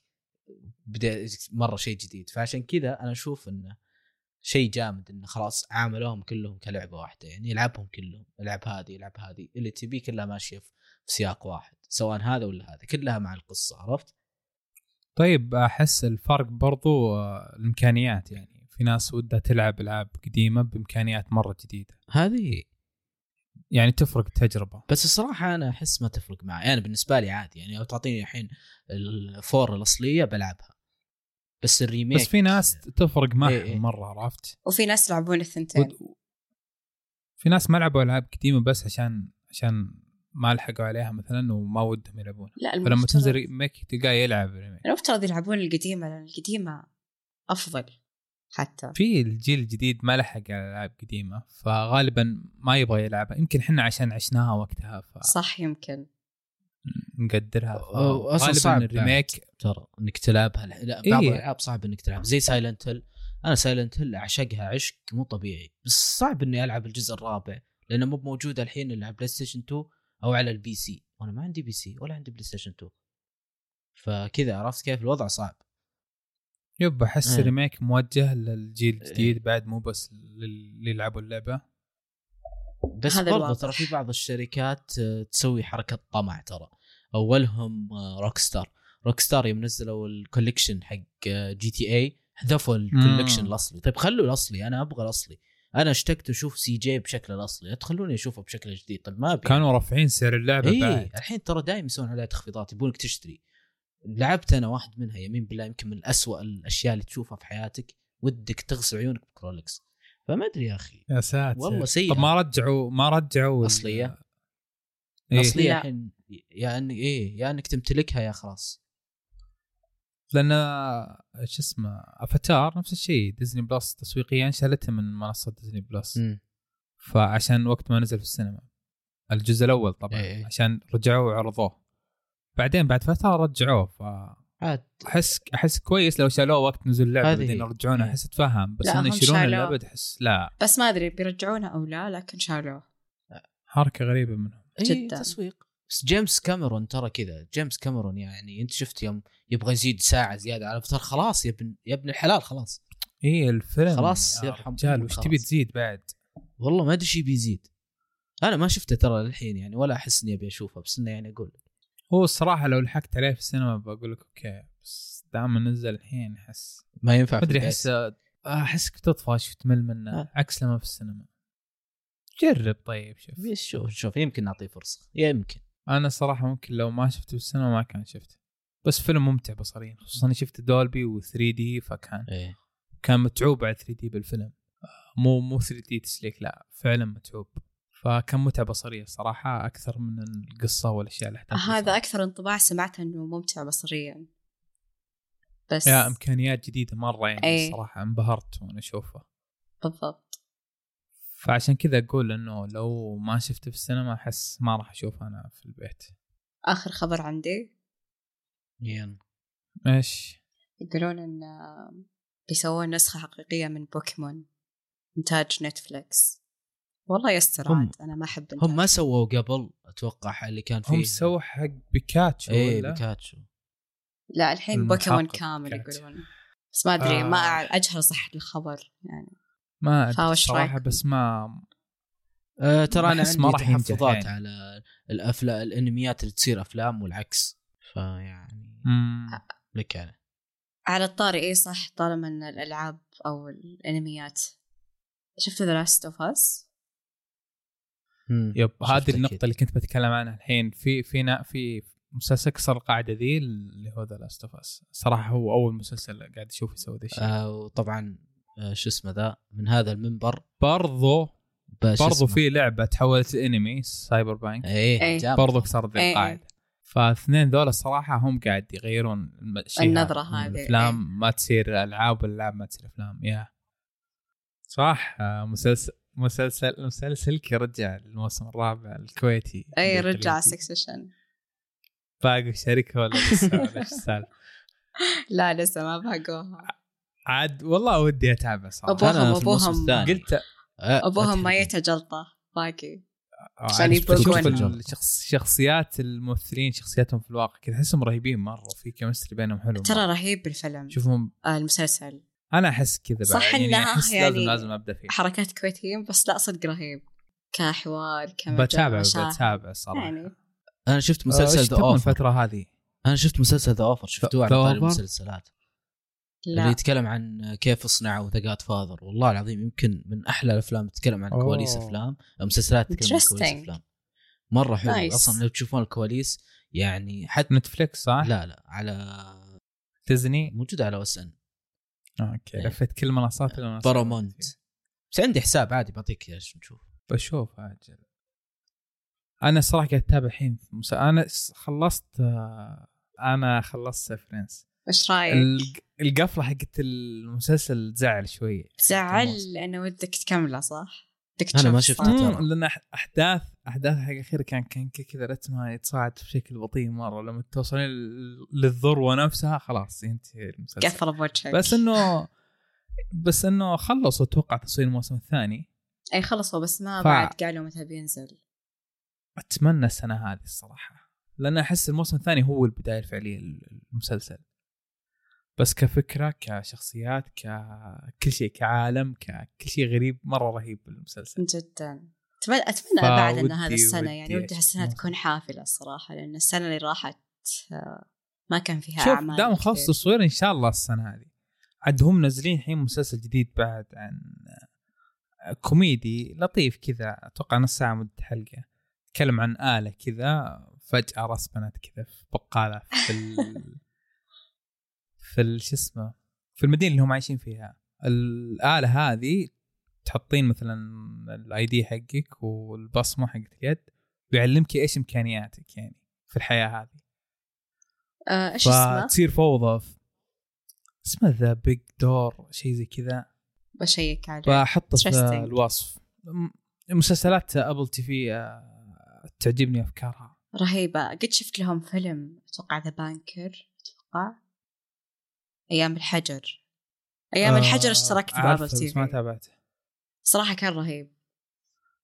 [SPEAKER 2] بدا مره شيء جديد فعشان كذا انا اشوف انه شيء جامد انه خلاص عاملوهم كلهم كلعبه واحده يعني يلعبهم كلهم العب هذه العب هذه اللي تبيه كلها ماشيه في في سياق واحد سواء هذا ولا هذا كلها مع القصه عرفت؟
[SPEAKER 1] طيب احس الفرق برضو آه، الامكانيات يعني في ناس ودها تلعب العاب قديمه بامكانيات مره جديده
[SPEAKER 2] هذه
[SPEAKER 1] يعني تفرق التجربه
[SPEAKER 2] بس الصراحة أنا أحس ما تفرق معي أنا بالنسبة لي عادي يعني لو تعطيني الحين الفور الأصلية بلعبها بس الريميك
[SPEAKER 1] بس في ناس تفرق معهم
[SPEAKER 2] إيه، إيه.
[SPEAKER 1] مره عرفت
[SPEAKER 3] وفي ناس يلعبون الثنتين
[SPEAKER 1] في ناس ما لعبوا العاب قديمه بس عشان عشان ما لحقوا عليها مثلا وما ودهم يلعبونها
[SPEAKER 3] لا
[SPEAKER 1] فلما
[SPEAKER 3] المفترض-
[SPEAKER 1] تنزل ريميك تلقاه يلعب ريميك
[SPEAKER 3] المفترض يلعبون القديمة لأن القديمة أفضل حتى
[SPEAKER 1] في الجيل الجديد ما لحق على العاب قديمه فغالبا ما يبغى يلعبها يمكن احنا عشان عشناها وقتها
[SPEAKER 3] صح يمكن
[SPEAKER 1] فنقدرها
[SPEAKER 2] أو- أصلاً
[SPEAKER 1] غالبا
[SPEAKER 2] صعب
[SPEAKER 1] الريميك
[SPEAKER 2] ترى إنك تلعبها لا بعض
[SPEAKER 1] إيه.
[SPEAKER 2] الألعاب صعب إنك تلعب زي سايلنت هيل أنا سايلنت هيل أعشقها عشق مو طبيعي بس صعب إني ألعب الجزء الرابع لأنه مو موجود الحين إلا على بلاي ستيشن 2 أو على البي سي وأنا ما عندي بي سي ولا عندي بلاي ستيشن 2 فكذا عرفت كيف الوضع صعب
[SPEAKER 1] يب احس
[SPEAKER 2] إيه.
[SPEAKER 1] الريميك موجه للجيل الجديد بعد مو بس لل- اللي يلعبوا اللعبه
[SPEAKER 2] بس
[SPEAKER 3] هذا
[SPEAKER 2] برضه
[SPEAKER 3] الواقع.
[SPEAKER 2] ترى في بعض الشركات آه، تسوي حركه طمع ترى اولهم روك ستار روك ستار يوم نزلوا الكوليكشن حق آه، جي تي اي حذفوا الكوليكشن
[SPEAKER 1] مم.
[SPEAKER 2] الاصلي طيب خلوا الاصلي انا ابغى الاصلي انا اشتقت اشوف سي جي بشكل الاصلي لا تخلوني اشوفه بشكل جديد طيب ما ابي
[SPEAKER 1] كانوا رافعين سعر اللعبه
[SPEAKER 2] اي
[SPEAKER 1] بعد
[SPEAKER 2] الحين ترى دائما يسوون عليها تخفيضات يبونك تشتري لعبت انا واحد منها يمين بالله يمكن من أسوأ الاشياء اللي تشوفها في حياتك ودك تغسل عيونك بكرولكس فما ادري يا اخي
[SPEAKER 1] يا ساتر
[SPEAKER 2] والله سيئة.
[SPEAKER 1] طب ما رجعوا ما رجعوا ال-
[SPEAKER 2] اصليه
[SPEAKER 1] إيه.
[SPEAKER 2] الاصليه
[SPEAKER 3] لا.
[SPEAKER 2] يعني إيه، الحين يا انك ايه يا انك تمتلكها يا خلاص
[SPEAKER 1] لان شو اسمه افاتار نفس الشيء ديزني بلس تسويقيا شالته من منصه ديزني بلس
[SPEAKER 2] مم.
[SPEAKER 1] فعشان وقت ما نزل في السينما الجزء الاول طبعا
[SPEAKER 2] إيه.
[SPEAKER 1] عشان رجعوه وعرضوه بعدين بعد فتره رجعوه فاحس
[SPEAKER 2] عاد
[SPEAKER 1] احس كويس لو شالوه وقت نزول اللعبه
[SPEAKER 2] هذه
[SPEAKER 1] بعدين
[SPEAKER 2] هي.
[SPEAKER 1] رجعونه
[SPEAKER 2] إيه.
[SPEAKER 1] احس اتفهم بس
[SPEAKER 3] لا،
[SPEAKER 1] انه
[SPEAKER 3] هم
[SPEAKER 1] يشيلون
[SPEAKER 3] شالوه.
[SPEAKER 1] اللعبه احس لا
[SPEAKER 3] بس ما ادري بيرجعونه او لا لكن شالوه
[SPEAKER 1] حركه غريبه منهم
[SPEAKER 2] إيه
[SPEAKER 3] جداً.
[SPEAKER 2] تسويق بس جيمس كاميرون ترى كذا جيمس كاميرون يعني انت شفت يوم يبغى يزيد ساعه زياده على فتره خلاص يا ابن يا ابن الحلال خلاص
[SPEAKER 1] ايه الفيلم
[SPEAKER 2] خلاص
[SPEAKER 1] يا
[SPEAKER 2] يرحم
[SPEAKER 1] رجال
[SPEAKER 2] أمك
[SPEAKER 1] وش
[SPEAKER 2] خلاص.
[SPEAKER 1] تبي تزيد بعد؟
[SPEAKER 2] والله ما ادري شي بيزيد انا ما شفته ترى للحين يعني ولا احس اني ابي اشوفه بس انه يعني اقول
[SPEAKER 1] هو الصراحه لو لحقت عليه في السينما بقول لك اوكي بس دام نزل الحين احس
[SPEAKER 2] ما ينفع
[SPEAKER 1] ما
[SPEAKER 2] في
[SPEAKER 1] ادري
[SPEAKER 2] البيت.
[SPEAKER 1] احس احسك تطفش وتمل منه
[SPEAKER 2] آه.
[SPEAKER 1] عكس لما في السينما جرب طيب شوف
[SPEAKER 2] بس شوف شوف يمكن نعطيه فرصه يمكن
[SPEAKER 1] انا صراحه ممكن لو ما شفته في السينما ما كان شفته بس فيلم ممتع بصريا خصوصا اني شفت دولبي و3 دي فكان
[SPEAKER 2] ايه
[SPEAKER 1] كان متعوب على 3 دي بالفيلم آه، مو مو 3 دي تسليك لا فعلا متعوب فكان متعه بصريه صراحه اكثر من القصه والاشياء الاحداث
[SPEAKER 3] هذا اكثر انطباع سمعته انه ممتع بصريا بس
[SPEAKER 1] يا امكانيات جديده مره يعني
[SPEAKER 3] إيه.
[SPEAKER 1] الصراحه انبهرت وانا اشوفه
[SPEAKER 3] بالضبط
[SPEAKER 1] فعشان كذا اقول انه لو ما شفته في السينما احس ما راح اشوفه انا في البيت
[SPEAKER 3] اخر خبر عندي
[SPEAKER 2] يلا
[SPEAKER 1] ايش
[SPEAKER 3] يقولون ان بيسوون نسخه حقيقيه من بوكيمون انتاج نتفليكس والله يستر
[SPEAKER 2] هم-
[SPEAKER 3] عاد انا ما احب
[SPEAKER 2] هم ما سووا قبل اتوقع اللي كان فيه
[SPEAKER 1] هم سووا حق بيكاتشو
[SPEAKER 3] إيه،
[SPEAKER 2] ايه
[SPEAKER 1] ولا؟
[SPEAKER 2] بيكاتشو
[SPEAKER 3] لا الحين
[SPEAKER 1] المحقق
[SPEAKER 3] بوكيمون كامل
[SPEAKER 1] كات.
[SPEAKER 3] يقولون بس ما ادري
[SPEAKER 1] آه.
[SPEAKER 3] ما أع- اجهل صح الخبر يعني
[SPEAKER 1] ما ادري
[SPEAKER 3] فاوش
[SPEAKER 1] صراحه
[SPEAKER 3] رأيكم؟
[SPEAKER 1] بس ما
[SPEAKER 2] آه ترى انا
[SPEAKER 1] أحس
[SPEAKER 2] عندي
[SPEAKER 1] ما راح ينجح
[SPEAKER 2] تحفظات
[SPEAKER 1] يعني.
[SPEAKER 2] على الافلام الانميات اللي تصير افلام والعكس فيعني
[SPEAKER 1] مم.
[SPEAKER 2] آه، لك يعني. انا
[SPEAKER 3] على الطاري اي صح طالما ان الالعاب او الانميات شفتوا ذا لاست اوف اس
[SPEAKER 1] يب هذه
[SPEAKER 2] شفت
[SPEAKER 1] النقطه
[SPEAKER 2] أكيد.
[SPEAKER 1] اللي كنت بتكلم عنها الحين في في نا في مسلسل كسر القاعده ذي اللي هو ذا لاست اوف اس صراحه هو اول مسلسل قاعد اشوف يسوي ذا الشيء
[SPEAKER 2] آه وطبعا آه شو اسمه ذا من هذا المنبر
[SPEAKER 1] برضو
[SPEAKER 2] ب- شو
[SPEAKER 1] برضو
[SPEAKER 2] اسمه؟
[SPEAKER 1] في لعبه تحولت انمي سايبر بانك
[SPEAKER 2] ايه
[SPEAKER 3] إيه.
[SPEAKER 2] جاب
[SPEAKER 1] برضو كسرت
[SPEAKER 3] إيه
[SPEAKER 1] ذي
[SPEAKER 3] إيه.
[SPEAKER 1] القاعده فاثنين ذول الصراحه هم قاعد يغيرون الم- الشيء
[SPEAKER 3] النظرة
[SPEAKER 1] هذا.
[SPEAKER 3] هذه، إيه.
[SPEAKER 1] الافلام ما تصير العاب والالعاب ما تصير افلام يا صح آه، مسلسل مسلسل مسلسلك يرجع الموسم الرابع الكويتي
[SPEAKER 3] اي
[SPEAKER 1] الكويتي.
[SPEAKER 3] إيه، رجع سكسيشن
[SPEAKER 1] باقي شركه ولا لسه ولا إيش السالفه
[SPEAKER 3] لا لسه ما باقوها
[SPEAKER 1] عاد والله ودي اتابع صراحه
[SPEAKER 3] أبوها
[SPEAKER 2] أنا في
[SPEAKER 3] أبوهم-
[SPEAKER 2] الموسم الثاني.
[SPEAKER 1] قلت
[SPEAKER 2] آه،
[SPEAKER 3] ابوهم ما
[SPEAKER 2] أتحدى.
[SPEAKER 3] يتجلطه باقي عشان
[SPEAKER 1] عشان
[SPEAKER 3] يبقون.
[SPEAKER 1] الشخص شخصيات الممثلين شخصياتهم في الواقع كذا احسهم رهيبين مره في كيمستري بينهم حلو
[SPEAKER 3] ترى رهيب الفيلم
[SPEAKER 1] شوفهم
[SPEAKER 3] آه المسلسل
[SPEAKER 1] انا احس كذا بعد
[SPEAKER 3] صح
[SPEAKER 1] يعني
[SPEAKER 3] إنها
[SPEAKER 1] احس
[SPEAKER 3] يعني
[SPEAKER 1] لازم لازم ابدا فيه
[SPEAKER 3] حركات كويتيين بس لا صدق رهيب كحوار كمجال
[SPEAKER 1] بتابع
[SPEAKER 3] مشاهد.
[SPEAKER 1] بتابع صراحه
[SPEAKER 3] يعني
[SPEAKER 2] انا شفت
[SPEAKER 1] آه، إيش
[SPEAKER 2] مسلسل ذا
[SPEAKER 1] تبغى
[SPEAKER 2] اوفر
[SPEAKER 1] الفتره هذه
[SPEAKER 2] انا شفت مسلسل ذا اوفر شفتوه على
[SPEAKER 1] The
[SPEAKER 2] طاري
[SPEAKER 1] Offer؟
[SPEAKER 2] المسلسلات اللي
[SPEAKER 3] لا
[SPEAKER 2] يتكلم عن كيف صنعوا ذا جاد فاذر والله العظيم يمكن من احلى الافلام تتكلم عن
[SPEAKER 1] أوه.
[SPEAKER 2] كواليس افلام مسلسلات تتكلم عن كواليس
[SPEAKER 3] Interesting.
[SPEAKER 2] افلام مره حلو
[SPEAKER 3] Nice.
[SPEAKER 2] اصلا لو تشوفون الكواليس يعني حتى
[SPEAKER 1] نتفلكس صح؟
[SPEAKER 2] لا لا على
[SPEAKER 1] ديزني
[SPEAKER 2] موجود على اس ان
[SPEAKER 1] اوكي
[SPEAKER 2] إيه.
[SPEAKER 1] لفيت كل منصات إلا منصة
[SPEAKER 2] بارامونت بس عندي حساب عادي بعطيك ايش نشوف
[SPEAKER 1] بشوف اجل انا الصراحه قاعد اتابع الحين في مسا... انا س- خلصت آه، انا خلصت فريندز
[SPEAKER 3] ايش رايك؟
[SPEAKER 1] القفله حقت المسلسل تزعل شوي
[SPEAKER 3] زعل لانه ودك تكمله صح؟ بدك
[SPEAKER 2] أنا ما
[SPEAKER 3] تشوف
[SPEAKER 2] شفته.
[SPEAKER 3] صح؟
[SPEAKER 1] مم،
[SPEAKER 2] ترى.
[SPEAKER 1] لان أح- احداث احداث حق الاخير كان كان ك- كذا رتمها يتصاعد بشكل بطيء مره لما توصلين لل- للذروه نفسها خلاص ينتهي المسلسل
[SPEAKER 3] قفله بوجهك
[SPEAKER 1] بس انه بس انه خلصوا اتوقع تصوير الموسم الثاني
[SPEAKER 3] اي خلصوا بس ما
[SPEAKER 1] ف-
[SPEAKER 3] بعد قالوا متى بينزل
[SPEAKER 1] اتمنى السنه هذه الصراحه لان احس الموسم الثاني هو البدايه الفعليه للمسلسل بس كفكره كشخصيات ككل شيء كعالم ككل شيء غريب مره رهيب بالمسلسل
[SPEAKER 3] جدا اتمنى اتمنى بعد ان هذا
[SPEAKER 1] فودي-
[SPEAKER 3] السنه
[SPEAKER 1] ودي
[SPEAKER 3] يعني ودي
[SPEAKER 1] أشوف
[SPEAKER 3] هالسنه
[SPEAKER 1] موسم.
[SPEAKER 3] تكون حافله الصراحه لان السنه اللي راحت آه، ما كان فيها
[SPEAKER 1] شوف
[SPEAKER 3] اعمال
[SPEAKER 1] دام
[SPEAKER 3] كثير.
[SPEAKER 1] خلص تصوير ان شاء الله السنه هذه عاد هم منزلين الحين مسلسل جديد بعد عن آه، كوميدي لطيف كذا اتوقع نص ساعه مده حلقه تكلم عن اله كذا فجاه رسبنت كذا في بقاله في ال... <laughs> في ال- شو اسمه في المدينه اللي هم عايشين فيها الاله هذه تحطين مثلا الاي دي حقك والبصمه حقت اليد ويعلمك ايش امكانياتك يعني في الحياه هذه
[SPEAKER 3] آه، ايش اسمه؟
[SPEAKER 1] فتصير فوضى اسمه ذا بيج دور شيء زي كذا
[SPEAKER 3] بشيك عليه
[SPEAKER 1] بحطه
[SPEAKER 3] Interesting.
[SPEAKER 1] في الوصف م- مسلسلات ابل تي في آه، تعجبني افكارها
[SPEAKER 3] رهيبة قد شفت لهم فيلم أتوقع ذا بانكر أتوقع أيام الحجر أيام
[SPEAKER 1] آه،
[SPEAKER 3] الحجر اشتركت
[SPEAKER 1] عارفه
[SPEAKER 3] بابل تي
[SPEAKER 1] بس ما
[SPEAKER 3] في
[SPEAKER 1] تابعته
[SPEAKER 3] صراحة كان رهيب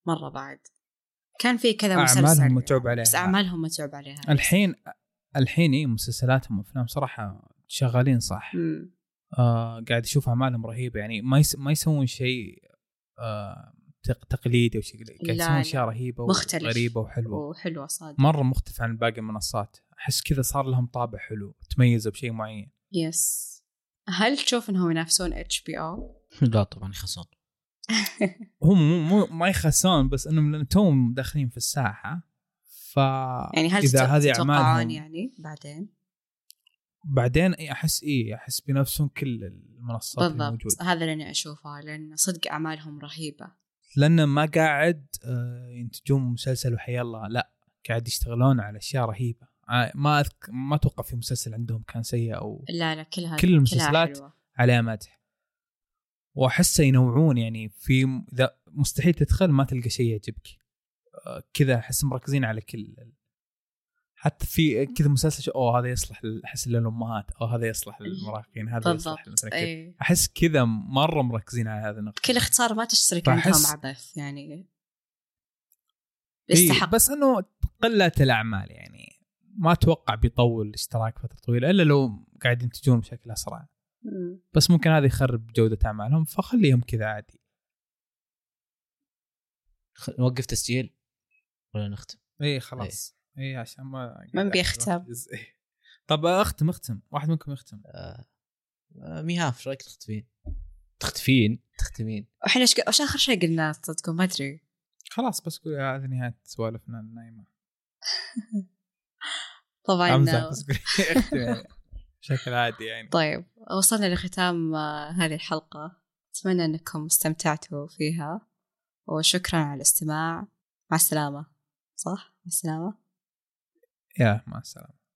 [SPEAKER 3] مرة بعد كان في كذا مسلسل
[SPEAKER 1] آه، أعمالهم متعوب عليها.
[SPEAKER 3] بس أعمالهم متعوب عليها
[SPEAKER 1] الحين الحين اي مسلسلاتهم وافلام صراحه شغالين صح
[SPEAKER 3] مم.
[SPEAKER 1] آه قاعد اشوف اعمالهم رهيبه يعني ما يس... ما يسوون شيء آه تق... تقليدي او شيء قاعد
[SPEAKER 3] لا،
[SPEAKER 1] يسوون
[SPEAKER 3] لا.
[SPEAKER 1] اشياء رهيبه
[SPEAKER 3] مختلف.
[SPEAKER 1] وغريبه وحلوه
[SPEAKER 3] وحلوة صادق
[SPEAKER 1] مره مختلف عن باقي المنصات احس كذا صار لهم طابع حلو تميزوا بشيء معين
[SPEAKER 3] يس هل تشوف انهم ينافسون اتش بي او؟
[SPEAKER 2] <laughs> لا طبعا يخسون
[SPEAKER 1] هم مو, مو ما يخسون بس انهم لان توهم داخلين في الساحه ف
[SPEAKER 3] يعني هل
[SPEAKER 1] اذا
[SPEAKER 3] تت-
[SPEAKER 1] هذه
[SPEAKER 3] تتوقعون
[SPEAKER 1] اعمالهم
[SPEAKER 3] يعني بعدين؟
[SPEAKER 1] بعدين إي احس ايه احس بينافسون كل المنصات
[SPEAKER 3] بالضبط
[SPEAKER 1] الموجوده
[SPEAKER 3] هذا اللي انا اشوفه لان صدق اعمالهم رهيبه
[SPEAKER 1] لان ما قاعد آه، ينتجون مسلسل وحيا الله لا قاعد يشتغلون على اشياء رهيبه آه، ما أذك... ما اتوقع في مسلسل عندهم كان سيء او
[SPEAKER 3] لا لا كلها
[SPEAKER 1] كل المسلسلات
[SPEAKER 3] كلها حلوة.
[SPEAKER 1] عليه مدح واحسه ينوعون يعني في م- اذا مستحيل تدخل ما تلقى شيء يعجبك آه، كذا احس مركزين على كل حتى في كذا مسلسل شو- اوه هذا يصلح لل- احس للامهات او هذا يصلح للمراهقين هذا يصلح
[SPEAKER 3] إيه، بالضبط إيه.
[SPEAKER 1] مثلا كذا
[SPEAKER 3] اي
[SPEAKER 1] احس كذا مره مركزين على هذا النقطه
[SPEAKER 3] كل اختصار ما تشترك
[SPEAKER 1] فأحس-
[SPEAKER 3] عندهم عبث يعني
[SPEAKER 1] إيه،
[SPEAKER 3] يستحق
[SPEAKER 1] بس انه قله الاعمال يعني ما اتوقع بيطول الاشتراك فتره طويله الا لو قاعد ينتجون بشكل اسرع
[SPEAKER 3] مم.
[SPEAKER 1] بس ممكن هذا يخرب جوده اعمالهم فخليهم كذا عادي
[SPEAKER 2] خ- نوقف تسجيل ولا نختم
[SPEAKER 1] اي إيه، خلاص اي عشان ما
[SPEAKER 3] من بيختم؟
[SPEAKER 1] إيه. طب اختم اختم واحد منكم يختم
[SPEAKER 2] آه. آه، ميهاف ايش رايك تختفين؟ تختفين تختمين
[SPEAKER 3] واحنا ايش ايش اخر شيء قلناه صدقوا ما ادري
[SPEAKER 1] خلاص بس قول هذه نهايه سوالفنا النايمه
[SPEAKER 3] طبعا
[SPEAKER 1] امزح بس قول <laughs> اختم يعني. بشكل عادي يعني
[SPEAKER 3] طيب وصلنا لختام آه، هذه الحلقة أتمنى أنكم استمتعتوا فيها وشكرا على الاستماع مع السلامة صح؟ مع السلامة
[SPEAKER 1] يا مع السلامه